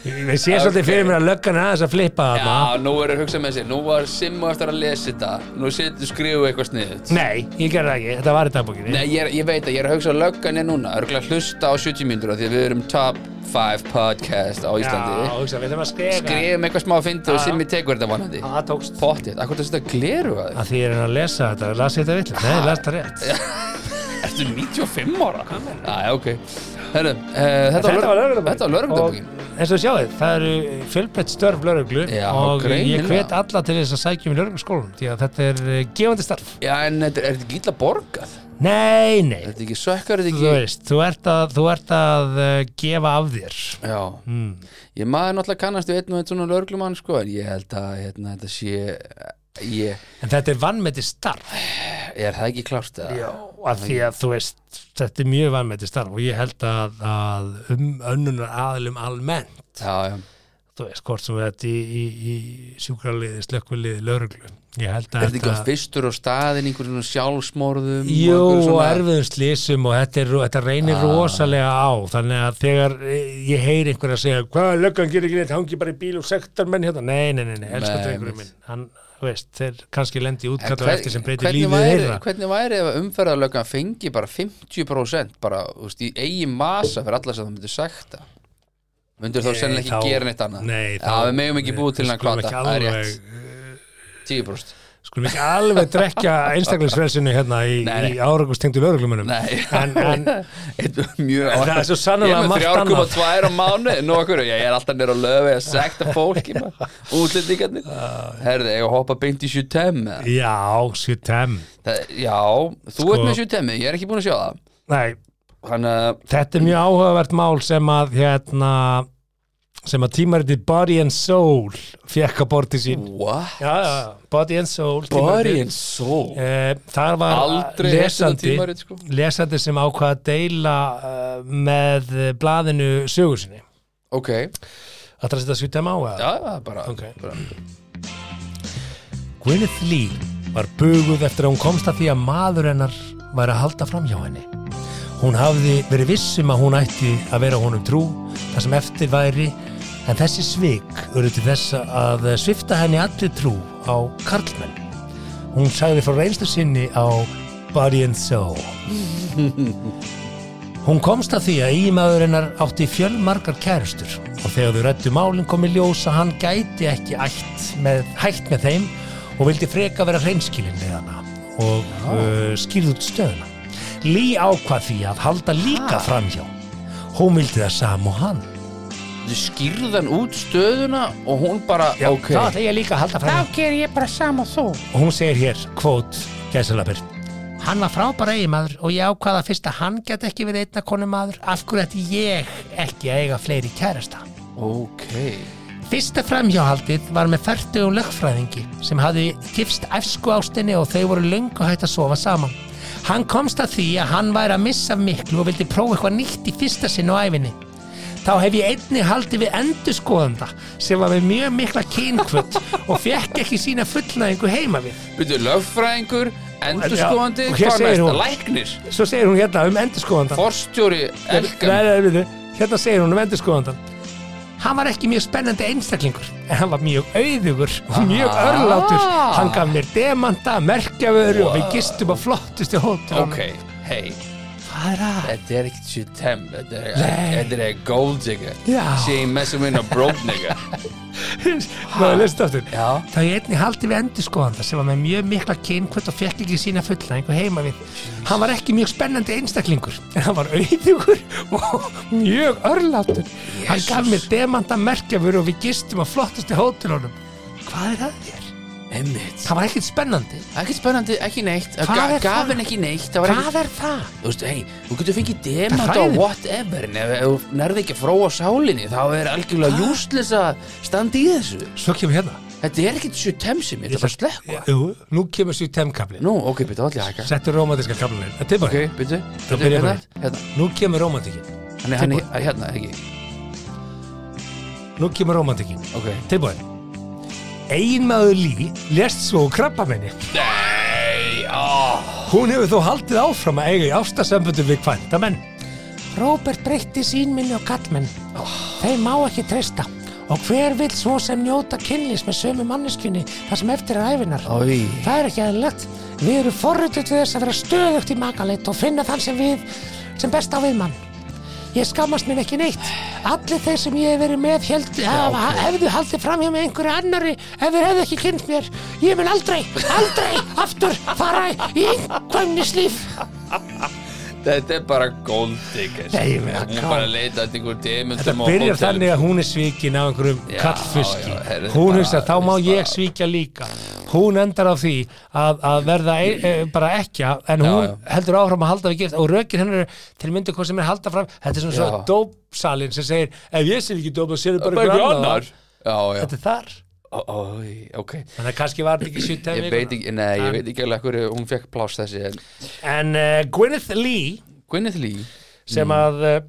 Ég sé svolítið fyrir mér að löggan er aðeins að flippa þarna. Já, nú er að hugsa með sér, nú var Simmo eftir að lesa þetta Nú setur skrifu eitthvað sniðut Nei, ég gerði það ekki, þetta var í dagbókinni Nei, ég, er, ég veit að ég er að hugsa að löggan er núna Örgulega hlusta á 70 mínútur af Því að við erum top 5 podcast á Íslandi Já, hugsa, við ætlum að skrifa Skrifum eitthvað smá að finna og Simmi tekur þetta vonandi Já, Það tókst Pottið, akkur þetta gleru að þig Að því er hann að lesa þetta, las ég þetta vitlega Nei, las þetta rétt Ertu 95 ára? Já, já, ok Herru, uh, þetta, lögregludagurinn. þetta var lögregludagbókin Og eins og sjáðu, það eru fjölbreytt störf lauruglu Já, Og greinilega. ég hvet alla til þess að sækja um í laurugluskólanum Því að þetta er eh, gefandi starf Já, en þetta er þetta ekki illa borgað Nei, nei, Þetta er ekki sökkar, þetta þú ekki veist, þú ert að, þú ert að eh, gefa af þér Já, Hmm. ég maður náttúrulega kannast við einn og einn svona lögreglumann sko, en ég held að hérna, þetta sé ég, En þetta er vannmeti starf er það ekki klárt að að því að þú veist þetta er mjög vannmeti starf og ég held að, að um önnunar aðilum almennt Já, já, þú veist, hvort sem þetta í, í, í sjúkraliði, slökkviliði, lauruglu ég held er að þetta ekki að fyrstur á staðin einhverjum svona sjálfsmorðum og Jú, einhverju og svona- Ah. erfiðum slísum og þetta, er, þetta reynir rosalega á þannig að þegar eh, ég heyri einhver að segja hvað, löggan gerir ekki neitt, hangi bara í bíl og sektar menn hérna, nei, nei, nei, nei elskar Nei, drengurinn mitt. minn, hann, þú veist, þeir kannski lendi í En útkall og hver- eftir sem breytir hvernig lífið væri, þeirra Hvernig væri ef umferðarlögan fengi bara 50% bara, þú veist, í eigin masa fyrir alla sem það myndir sekta Myndir þá Nei, sennilega ekki Eh, þá- gera neitt annað nei, Já, þá- við megum ekki búið til við hann skulum kvata, ekki það er alveg- rétt 10% skulum ekki alveg drekja einstaklingsfrelsinu hérna í, Nei, nei. í árangustengdu lögreglumunum Nei, En- en- Eitt- mjög En það er svo sannarlega margt Ég er með 3,2 annað. á mánu, nú okkur, ég er alltaf nýra að löfi að sekta fólki útlendingarnir Ah. Herði, ég hoppa beint í 7-10 eða? Já, 7-5 Það- Já, þú Sko- ert með 7-10, ég er ekki búin að sjá það eh, Nei, Þannig að þetta er mjög áhugavert mál sem að hérna, sem að tímaritið Body and Soul fekk að borti sín What? já, já, Body and Soul Body tímaritið. and Soul Eh, þar var Aldrei heyrt þetta lesandi, tímarit, sko. lesandi sem ákvað að deila uh, með eh, blaðinu sögur sinni Ok, já, Þetta er að setja svítum á að það er bara, Ok. bara Gwyneth Lee var buguð eftir að hún komst að því að maður hennar væri að halda fram hjá henni. Hún hafði verið vissum að hún ætti að vera honum trú, það sem eftir væri, en þessi svik voru til þess að svifta henni allir trú á karlmenn. Hún sagði frá reynslu sinni á Body and Soul. Hún komst að því að ímaður hennar átti fjölmargar kærustur og þegar þau rættu málinn komi ljós að hann gæti ekki ætt með, hætt með þeim og vildi freka vera hreinskilinn við hana og uh, skýrð út stöðuna. Lí ákvað því að halda líka framhjá. Hún vildi það sam og hann. Þau skýrðan út stöðuna og hún bara, ok Það ætla ég líka að halda framhjá. Þá ger ég bara sama og þú. og hún segir hér, kvót, gæsalapir Hann var frábæra eigimaður og ég ákvaða fyrst að hann get ekki verið einna konu maður af hverju ætti ég ekki að eiga fleiri kærasta Ok, Fyrsta framhjáhaldið var með færtugum lögfræðingi sem hafði gifst æfsku ástinni og þau voru löngu hægt að sofa saman. Hann komst að því að hann væri að missa af miklu og vildi prófa eitthvað nýtt í fyrsta sinn á æfinni. Þá hef ég einni haldið við endurskoðanda sem var með mjög mikla kynkvöld og fekk ekki sína fullnæðingu heima við. byrjuðu lögfræðingur, endurskoðandi, Já, og hér hvað segir næst, hún- læknir Svo segir hún hérna um endurskoðanda. Forstjóri Nei, Elgan nei, við, hérna segir hún um endurskoðandan Hann var ekki mjög spennandi einstaklingur en hann var mjög auðugur og mjög örlátur Hann gaf mér demanta, merkjavöru og við gistum á flottustu hóttur Ok, hei, Hvað er það? þetta er ekkert 7-10 Þetta er- þetta er gold digger Já. She ain't messing with no broke nigga Náðu, lestu aftur Já. Þá ég einni haldi við endurskoðanda sem var með mjög mikla kynkvöld og fekk ekki sína fullnæðingu heima við Hann var ekki mjög spennandi einstaklingur en hann var auðugur og mjög örlátur Hann gaf mér demanta, merkjavöru og við gistum á flottustu hóttunum Hvað er það þér? Einmitt Það var ekkert spennandi. Ekki spennandi, ekki neitt Hvað Ga- er Gaf það? henni ekki neitt Það var Hvað ekki, er það? þú veist, hei, þú getur fengið demant á hræðilegt. whatever En ef ef þú nærði ekki að fróa sálinni Þá er algjörlega useless að standa í þessu Svo kemur hérna. Þetta er ekkert sjö temsi mér, þetta er bara slökva Jú, nú kemur sér temkaflin Nú, ok, byrju, þá ætla ég að hækka Settur romantíska kaflin Þetta er Ok, bara byrju, Það byrju, byrjar hérna bara. Hérna, Nú kemur romantíkin hann er- hann er hérna, ekki Nú kemur romantíkin Ok Tilbúin Einmaður Lý lest svo krabba minni Nei, á Hún hefur þó haldið áfram að eiga í ástasamböndum við kvantamenn. Robert breytti sín minni og kallmenn. Oh. Þeim má ekki treysta. Og hver vill svo sem njóta kynlýs með sömu manneskunni þar sem eftir er æfinar? Í Það er ekki aðeinlegt. Við erum forrutið til þess að vera stöðugt í makaleitt og finna þann sem við, sem best á við mann. Ég skammast minn ekki neitt. Allir þeir sem ég hef verið með held, hafa, hefðu haldið fram hjá með einhverju annari ef þeir hefðu ekki kynnt mér. Ég mun aldrei, aldrei aftur fara í einhvernislíf. Þetta er bara golddiggers Nei, ég Hún meina, er hvað? bara að leita eftir einhver demundum Þetta byrjar þannig að hún er svíkin af einhverjum Já, kallfuski. já, heyrðu, Hún bara- hugsa, þá má bara- ég svíkja líka. Hún endar á því að, að verða e, e, bara ekki en hún já. heldur áfram að halda við gift og rökin hennar er til myndi hvað sem er halda fram þetta er svona svo Já. dópsalinn sem segir ef ég sé ekki dóp þá sér þið bara Bara einhver einhver annar annar Já, já Þetta er þar Ó, ó, í, Ok Þannig að kannski var þetta ekki sýtt Ég veit ekki, nei, ég veit ekki alveg hverju hún fekk pláss þessi en En uh, Gwyneth Lee Gwyneth Lee Mm. sem að uh,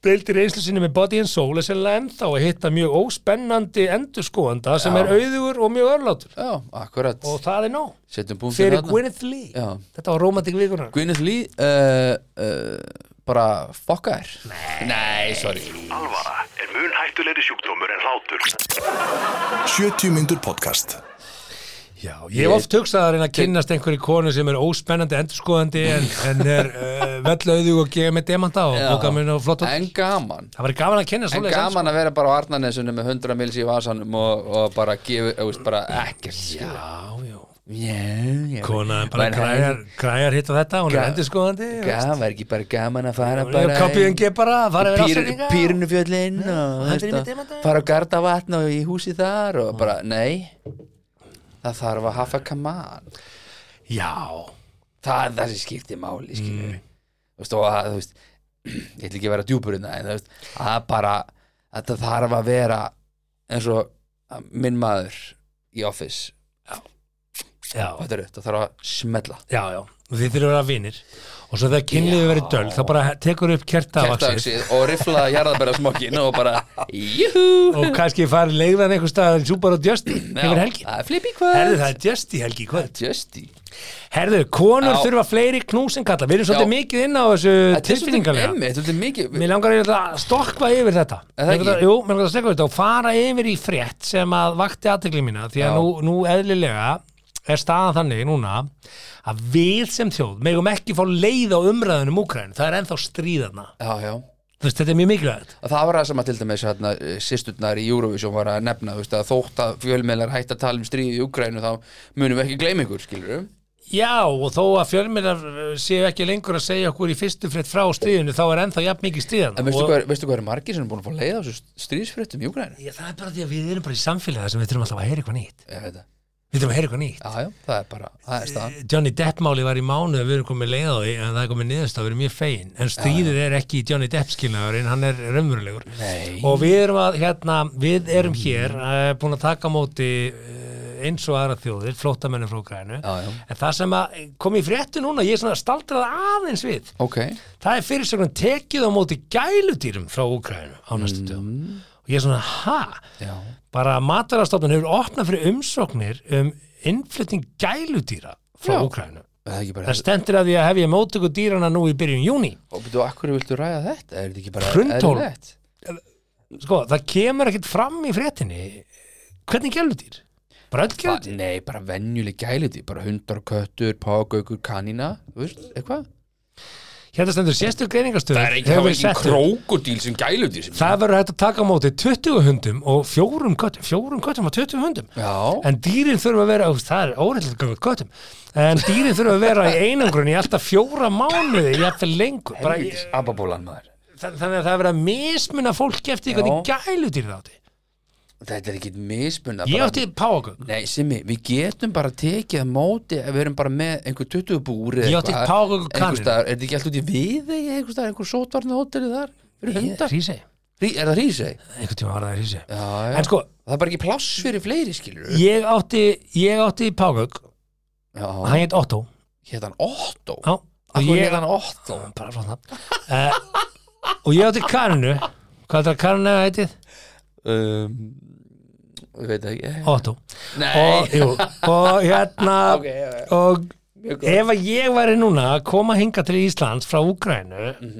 deildi reynslu sinni með Body and Soul er sennilega ennþá að hitta mjög óspennandi endurskoðanda sem Já. er auðugur og mjög örlátur Já, akkurat og það er nóg Setjum punktin fyrir þarna. Gwyneth Lee Já. þetta var romantik vikunar Gwyneth Lee uh, uh, bara fokka þér Nei, Nei sorry Alvara er mun hættulegri sjúkdómur en hlátur. 70 mínútur podcast Já, ég hef oft hugsað að reyna að kynnast einhverju konu sem er óspennandi endurskoðandi en, en er uh, vell auðug og gefa með demanta og Já. bóka mér og flott og En gaman það var gaman að kynna En svoleiðis gaman að vera bara á Arnarnesunum með 100 mils í vasanum og, og bara gefa, þú veist, bara ekkert Já, endurskoðandi. Já, já. já Kona er bara Væri græjar, græjar hitt á þetta, hún Ga- er endurskoðandi hægt- og- Gaman, var ekki bara gaman að fara og bara Kápiðan í- geð bara að fara við Pýr- ásendinga Pýrnufjöllin og hendur í veist, með að demanta. fara á Gardavatn og í húsi þar og bara, nei það þarf að hafa kamal Já, það er það sem skiptir máli skilur mm. veist, og að, þú veist ég ætla ekki að vera djúpur innan en þú veist, að bara, þetta þarf að vera eins og að minn maður í office já, og þetta er rétt, það þarf að smella já, já Og Þið þurfum að vera vinir Og svo þegar kynliðu verið döl, þá bara tekur upp kertavaksið kertavaksið og rifla jarðabæra smokkin og bara, júhú Og kannski farið leiðan einhver stað en súpar og djösti yfir helgi flippi Herðu, kvöld það er djösti helgi í kvöld Justi Herðu, konur Já. þurfa fleiri knúsin kalla Við erum svolítið Já. mikið inn á þessu tilfinningarlega Þetta er svolítið mikið Mér langar eiginlega að stokka yfir þetta Er það Mér langar að- ekki? Jú, mér langar að stokka yfir þetta og fara yfir í frétt sem að vakti aðtekli mína því að Já. nú, nú eðlilega er staðan þannig núna að við sem þjóð megum ekki fá leið á umræðunum Úkræn það er ennþá stríðana Já, já Þú veist, þetta er mjög mikilvægt Og Það var það sem að til dæmis hérna, sýsturnar í Eurovision var að nefna þú veist, að þótt að fjölmeðlar hætt að tala um stríð í Ukrænu þá munum við ekki gleyma ykkur, skilur við Já, og þó að fjölmiðar séu ekki lengur að segja okkur í fyrstu frétt frá stríðinu þá er ennþá jafn mikið stríðana En veistu Og- hvað, er- veistu hvað er margir sem er búin að fá leið á þessu stríðsfréttum í Ukrænu? Já, það er bara því að við erum bara í samfélagi þar sem við þurfum alltaf að heyra eitthvað nýtt Ég veit það Við þurfum að heyra eitthvað nýtt Já, já, það er bara, það er staðan Johnny Depp-máli var í mánuð við erum komið leið á því en það er komið niðurst að vera mjög fegin en stríðið er ekki í Johnny Depp skilnaðurinn hann er raunverulegur Nei. og við erum að hérna við erum hér uh, búin að taka á móti uh, eins og aðra þjóðir flóttamennum frá grænu Já, já. en það sem að eh, kom í fréttu núna ég er svona staldrað aðeins við Ok, það er fyrirsögnum tekið á móti gæludýrum frá Úkrænu á Mm. næstu dögum og ég er svona, ha? já Bara matarastofnun hefur opnað fyrir umsóknir um innflutning gæludýra frá Já. Úkrænu Það er ekki bara Það stendur að því að hefja mótöku dýrana nú í byrjun júni. Og betur, akkur viltu ræða þetta? Er þetta ekki bara Hrundtól. eðlilegt? Sko, það kemur ekkert fram í fréttinni. Hvernig gæludýr? Bara öll Ba- gæludýr? Nei, bara venjuleg gæliti, bara hundar, köttur, págaukur, kanína, þú veist, eitthvað Hérna stendur sérstur greiningastöð. Það er ekki, það var ekki krókodíl sem gæludýr sem Það verður hægt að taka á móti 20 hundum og fjórum köttum. Fjórum köttum og 20 hundum. Já, En dýrin þurfa að vera, ó, það er óreitlega gangat köttum, en dýrin þurfa að vera í einangrun í alltaf fjóra mánuði, jafnvel lengur. Bara, í- helvítis ababólan maður þa- þannig að það er verið að mismuna fólki eftir því hvernig Já. gæludýr það átti. Þetta er ekki mismunna Ég átti páagögg. Nei, Simmi, við getum bara tekið að móti ef við erum bara með einhver 20 búri Ég átti páfagaukur kanínu. Er þetta ekki allt út í við eða einhver staðar, einhver sótvarna hóteli þar? Fyrir hundar? Hrísey Rí, er það rísei? einhvern tíma var það í hísi Já, já. en sko, það er bara ekki pláss fyrir fleiri skilur ég átti ég átti Págögg, Já, hann heit Otto hétt hann Otto já, og Akkur ég hétt hann Otto bara frá það uh, og ég átti Karinu hvað er það Karinu heitið? um, Ég veit ekki Otto Nei, og, jú, og hérna ok, já, já, og mjög góð ef að ég væri núna að koma hinga til Íslands frá Úgrænu og,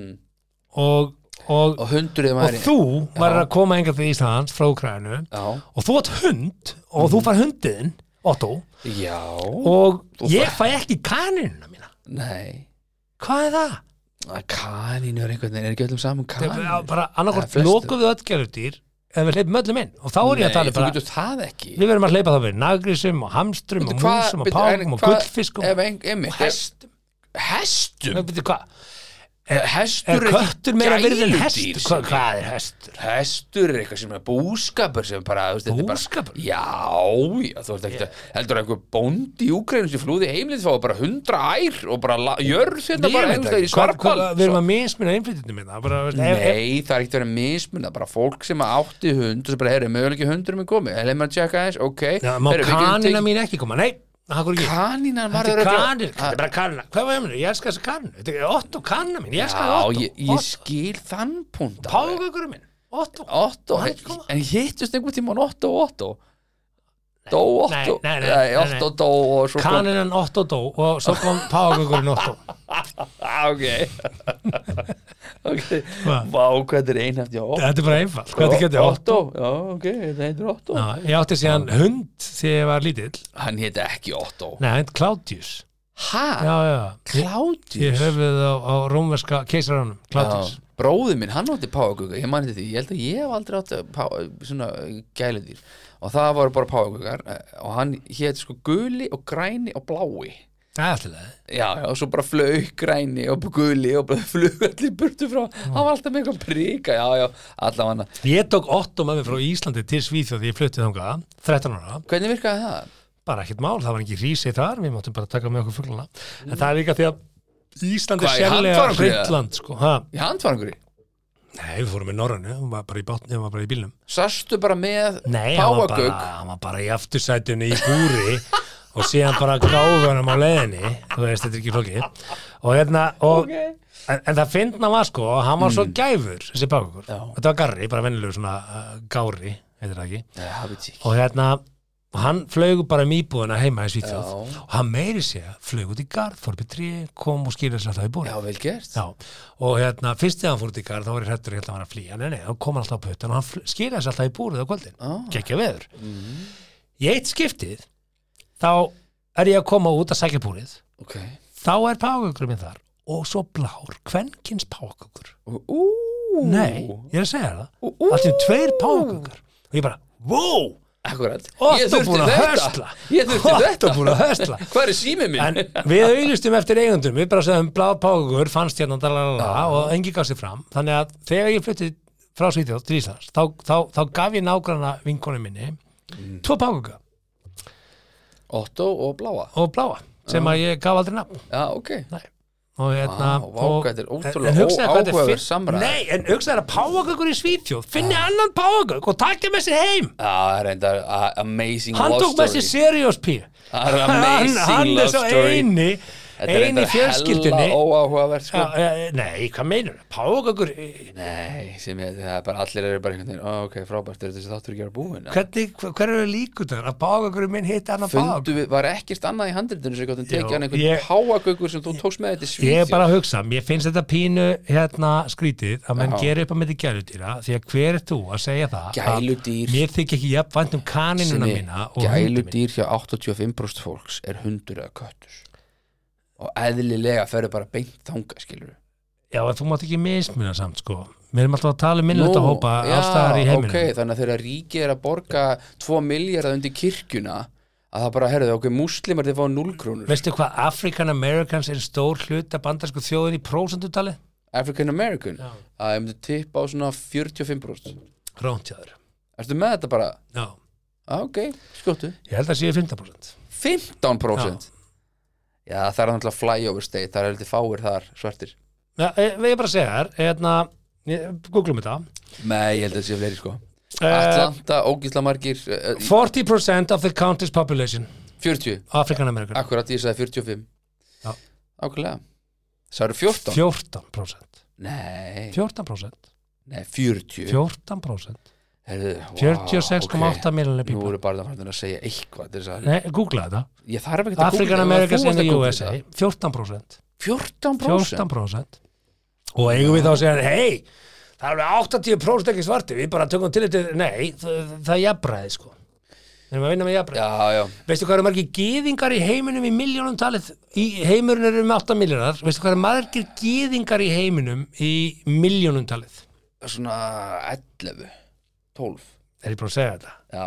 og, og, Mhm. Og hundruð maður þú væri að koma hinga til Íslands frá Úgrænu Já, og þú átt hund og Mhm. þú fær hundiðin Otto já, og Þú ég fæ ekki kaninuna mína nei hvað er það? Kaninu er einhvern veginn, er ekki öllum um saman kaninu Þegar, bara annarkort flestum. lokum við öll gerðurdýr eða við hleypum öllum inn og þá er ég að tala Nei, um þú bara getur það ekki við verðum að hleypa þá við nagrisum og hamstrum og Bíddu, hvað- músum og bíddu, en pákum og hvað- gullfiskum ef ein- einmitt, og ef- hestum Hestum? Nei, veitu hvað? Hestur Er ekki köttur meira virði en gæludýr, hestur? sem- Hvað, hvað er hestur? Hestur er eitthvað sem er búskapur sem bara, þú veist, þetta er bara Búskapur? Já, já, þú veist ekki yeah. heldur að einhver bóndi í Úkreinu sem flúði heimlið fá bara hundra ær og bara la, jörð þetta Ég bara veit einhvers staðar í ekki, hvað- svarpal hvað- Við erum að mismuna innflytjum minna bara, veist, ef- ef- Nei, það er ekkert verið að mismunna bara fólk sem átti hund og sem bara, herri, möguleiki hundur minn komi, eða leið maður að tjekka aðeins, ok Já, Má Heyrðu, við getum kanina tekið- mín ekki koma? Nei, það hvað ekki Kanínan var Þetta er örugglega- kanina, þetta er bara kanina Hvað var ég með? Ég elska þessa kanina Þetta er Otto kanina mín, ég elska það Já, Otto ég, ég skil þann punkt alveg. Págökurum minn, Otto Otto, Hann er en, ekki koma. en hittust einhvern tímann Otto og Otto Dó Otto nei, nei, nei, nei, Otto dó og svo kom- Kaninan Otto dó og svo kom págökurinn Otto ah, ok ok Hva? Vá, hvað er einhæft, já Otto, Þetta er bara einfalt, hvað þetta getur Otto? Otto, já, ok, þetta heitir Otto Já, ég átti síðan hund þegar ég var lítill Hann hétt ekki Otto Nei, hann heit Claudius Hæ? Já, já, ég Kládius höfðið á, á rómverska keisaranum Claudius Bróði minn, hann átti páagögga Ég mani því, ég held að ég hef aldrei átti pá, eh, svona gæludýr og það voru bara páagöggar og hann hétt sko guli og græni og blái Það er alltaf leið Já, já, og svo bara flaug græni og guli og bara flug allir burtu frá hann var alltaf með eitthvað príka, já, já, allavega Ég tók Otto með mér frá Íslandi til Svíþjóð því ég fluttið þangað, 13 ára Hvernig virkaði það? bara ekkert mál, það var ekki rísi þar við máttum bara taka með okkur fuglana en það er líka því að Ísland er Hvað, í sérlega handfarangri eða? hreitland sko. Ha, Í handfarangri? Nei, við fórum með Norrannu, hún var bara í bátni hún var bara í bílnum Sastu bara með Nei, hann var, bara, páagögg? hann var bara í aftursætunni í búri og síðan bara gáðunum á leiðinni þú veist, þetta er ekki flókið og hérna, og, en, en það fyndna var sko, hann var svo Mm. gæfur þessi pákukur, þetta var garri, bara venjulegur svona uh, gári, heitir það ekki Já, veit ég ekki og hérna og hann flög bara um íbúðuna heima í Svíþjóð Já. og hann meiri sig að flög út í garð fór upp í trí, kom og skýrði sér alltaf í búri Já, vel gert Já. og hérna, fyrst þegar hann fór út í garð þá var ég hrættur hérna að hann að flýja, nei nei, þá kom hann alltaf á puttan og hann skýrði sér alltaf í búrið á kvöldin Já. gekkja veður Mhm. í eitt skiptið þá er ég að koma út að sækja búrið Ok þá er págökurum minn þar og svo blár, kvenkins págökur Ú, nei, ég er að segja það Ú, ú. allt í einu tveir págökur og ég bara, wow Akkurat Ég Otto þurfti búin að höstla þetta Ég þurfti Otto þetta búin að höstla Hvað er símið minn? En við auðvistum eftir eigundum Við bara segðum blá págur, fannst hérna dalalala, og engi gaf sér fram Þannig að þegar ég flutti frá Svíþjóð til Íslands þá, þá, þá gaf ég nágrana vinkonu minni Mm. tvo páguga Otto og bláa og bláa sem að ég gaf aldrei nafn Já, ok Nei. og hérna Vá, vá, og- hvað þetta er en- ótrúlega en hugsaðu hvað þetta er óáhugaverð fyrr- samræða. Nei, en hugsaðu að págaugur í Svíþjóð finni annan págaug og takja með sér heim Já, það er enda a- amazing hann love tók með sér story. Serious P Það er amazing hann love er svo story. eini Þetta er eini reyndar fjölskyldunni hella óáhugavert sko. Já, eh, Nei, hvað meinur? Págaugur, eh, Nei, sem ég, það er bara allir eru bara einhvern veginn, "Ó, ok, frábært, er þessi þáttur ekki að búin hvernig, hver- hver eru líkunar að págaugur minn hitt annan págaug? Fundu við, var ekkert annað í handritinu sem gáttum tekið Jú, hann einhvern ég- ég... páagaukur sem þú tókst með þetta Ég í er Svíþjóð bara að hugsa, mér finnst þetta pínu hérna skrítið að menn Já. gera upp að myndi gæludýra því að hver er þú að segja það að Gæludýr. Mér þykir ekki jafn vænt um kaninuna Sinni, mína og hundum mín Gæludýr hjá 85% fólks er hundur eða köttur og eðlilega ferðu bara beint þanga skilur Já, en þú mátt ekki mismuna samt sko Við erum alltaf að tala um minnluta hópa ástæðar í heiminum ok, þannig að þegar ríkið er að borga 2 miljardar undir kirkjuna að það bara, herðu, ok, múslimar þeir fá 0 krónur Veistu hvað African Americans er stór hluta bandarsku þjóðin í prósendutali? African American, að ég myndi tippa á svona 45% Róntjáður. Ertu með þetta bara? Já. Ah, ok, skjóttu Ég held að séu 15%. 15% Já, það er náttúrulega flyover state, það er heldur fáir þar svartir eh, Já, e, við erum bara að segja þér, hérna, Ég- Googlum þetta Nei, ég held að það sé fleiri sko Eh, Atlanta, ógísla margir uh, 40% of the country's population 40, African American akkurat ég sagði 45 Já. Ákveðlega Það eru 14 14% Nei, 14% nei, 40 14% Herðu, vá, 46,8 ok. milljónir Nú people eru bara farin að segja eitthvað til þess að- Nei, googla þetta Ég þarf ekki að African googla, Americans þú varst in the að googla USA þetta. 14% 14% 14% og eigum við þá að segja hei, það er alveg 80% ekki svarti við bara tökum til þetta, nei það, það er jafnbræði sko við erum að vinna með jafnbræði, Já, já, veistu hvað eru margir gýðingar í heiminum í miljónum talið í heimurinn eru um 8 miljónar, veistu hvað eru margir gýðingar í heiminum í miljónum talið, svona 11 12 er ég bara að segja þetta Já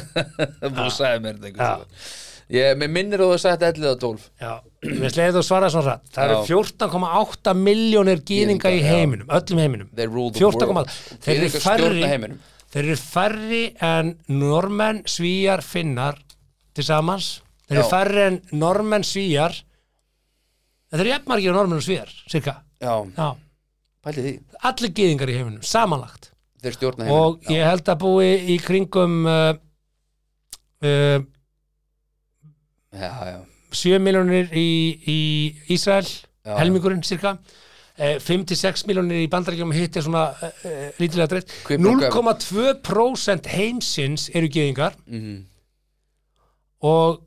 Búið að segja mér þetta Já. einhvern tímann. Ég mig minnir að þú sagði þetta 11 og 12 Já, við slegið þú svara svona rætt Það eru Já. 14,8 miljónir gýðinga í Gyðinga, já. heiminum, öllum heiminum They rule the 14,8. world. Þeir eru Gyðingar færri- stjórna heiminum. Þeir eru færri en normenn, svíjar, finnar til samans Þeir eru Já. færri en normenn, svíjar Þeir eru jafnmargir en normenn og svíjar, cirka Já, Já, pæli því allir gýðingar í heiminum, samanlagt Þeir stjórna heiminum Og ég held að búi í kringum uh, uh, Já, já, 7 miljónir í, í Ísrael, Já, já. helmingurinn cirka Eh, 5-6 miljónir í bandarækjum hitt er svona uh, lítilega dreitt Hver borgar- 0,2% heimsins eru geðingar Mhm. og,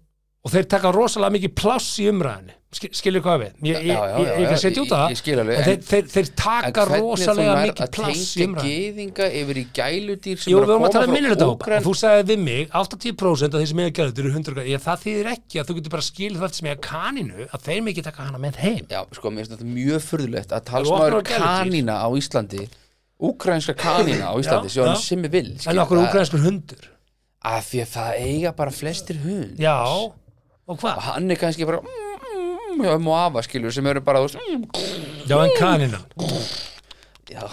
og þeir taka rosalega mikið pláss í umræðinni Sk skilur hvað við ég, ég, Já, já, já, ég, ég, já, ég setja út á ég- það ég skil alveg, en en- þeir, þeir, þeir En taka hvernig rosalega þú nærð mikið pláss í að tengja umræðinni geiðinga yfir í gæludýr sem Jú, eru við vorum að tala um koma frá minnilutahópa Úkraínu? og þú sagði við mig 80% af þeir sem eiga gerður eru 100 ég, það þýðir ekki að þú getur bara skilið það sem eiga kaninu að þeir mikið taka hana með heim Já, sko, mér finnst þetta mjög furðulegt að opnar talsmaður á gæludýr. kanina á Íslandi Úkrainska kanina á Íslandi Já, sem hann já. simmi vil en okkur ukrainskur hundur Af því að það eiga bara flestir hund já, og Og hvað? hann er kannski bara mm, mm, Já, um og afa skilur sem eru bara þú veist, mm, já, en kanina Já,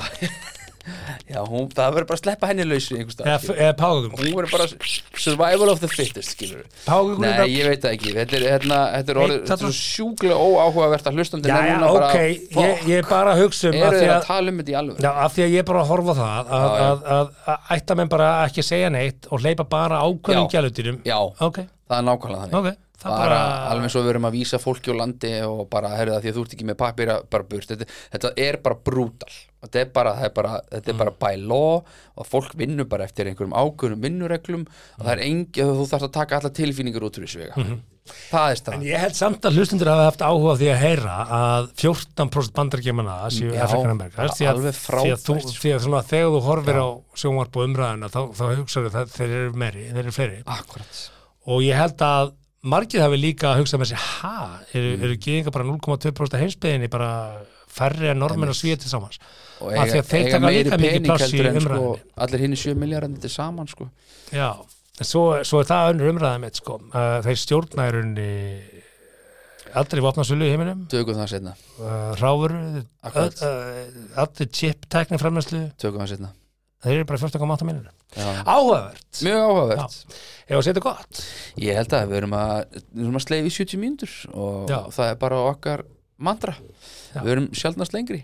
já hún, það verður bara að sleppa henni lausu einhvers eða, staðar, f- eða págagum skilur. Hún verður bara survival of the fittest skilur págagum Nei, ég veit það ekki, þetta er, hérna, þetta er, orðið, Nei, þetta þarna- er sjúklega óáhugavert að hlustandi já, já, ok, ég, ég er bara að hugsa um Eru að því þeir að að tala um þetta í alveg? Já, af því að ég er bara að horfa á það að, Já, já. að, að, að ætta menn bara að ekki segja neitt og hleypa bara ákveðum Já. gælutýrum Já. ok, Það er nákvæmlega þannig ok, það bara, bara alveg svo við erum að vísa fólki á landi og bara, herðu það, því að þú ert ekki með pappir bara burt, þetta, þetta er bara brútal þetta er bara, það er bara, þetta er bara Mm. by law og fólk vinnur bara eftir einhverjum ákveðnum vinnureglum og það er engi, þú þarfst að taka alla tilfinningar út úr þessu vega það er Mhm. En staðan ég held samt að hlustundur hafa haft áhuga á því að heyra að 14% bandargemana séu Já, Afrikanamerikas því að, alveg því að, þú, frábært, sko. því að svona, þegar þú horfir á sjónvarp og umræðina þá, þá hugsaðu það þeir eru meiri, þeir eru fleiri Akkurat og ég held að margið hafi líka að hugsa með sér ha, eru, Mm. eru gyðingar bara 0,2% heimsbyðinni bara færri en normin og svíði til samans og Af því eiga, að þeir eiga taka meiri líka mikið pening pláss í heldur en sko, umræðunni. allir hinn er 7 miljardin til saman sko. Já, en svo, svo er það önnur umræða mitt sko, uh, þeir stjórnærunni aldrei vopnarsölu í heiminum tökum það setna uh, ráfuru Akkurat. eh, allir chip tekni framlæslu tökum það setna þeir eru bara 14,8 minnir Já. áhugavert, mjög áhugavert ef að setja gott Ég held að við erum að, við erum að sleifi 70 mínútur og Já. það er bara okkar mantra. Já. Við erum sjaldnast lengri.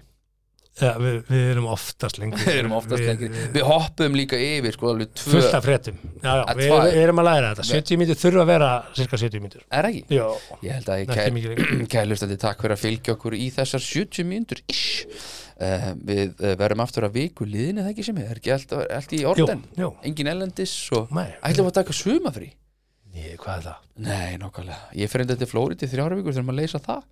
ja, við, við erum oftast lengur Við erum oftast lengri. við, Við hoppum líka yfir, sko, alveg tvö. fullt af fréttum já, já, Að við, tvær. við erum að læra þetta 70 mínútur þurfa að vera cirka 70 mínútur Er það ekki? já, Ég held að ég ekki mikið lengur. kæ- kæri hlustandi takk fyrir að fylgja okkur í þessar 70 mínútur. Ish. Uh, við uh, verum aftur að viku liðin eða ekki sem er. Er ekki allt, allt í orden? jú. Engin ellendis og Nei. ætlum við að taka sumafrí? Ég, hvað er það? Nei, nákvæmlega. Ég fer enda til Flórið í þrjára vikur þegar maður leysa það.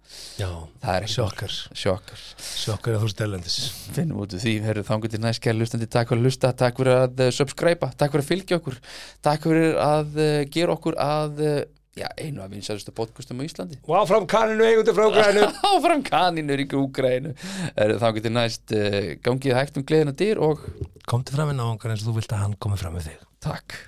já, Það er ekki sjokkar sjokkar. sjokkar að þú stelendis finnum út úr því, herru þangur til næst kæra lustandi, takk fyrir að lusta, takk fyrir að uh, subscriba, takk fyrir að fylgja okkur takk fyrir að uh, gera okkur að uh, já, einu af vinsælustu podcastum á Íslandi og áfram kanninu eigundu frá grænu áfram kaninur í Úgrænu herru þangur til næst uh, gangið hægt um gleðina dyr og komdu fram með náungar eins og þú vilt að hann komi fram með þig takk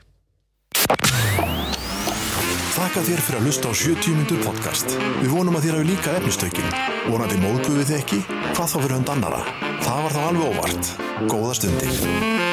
Þakka þér fyrir að hlusta á 70 myndur podcast. Við vonum að þér hafi líka efnistökin. Vonandi móðguðu þið ekki? Hvað þá fyrir hund annara? Það var þá alveg óvart. Góða stundir.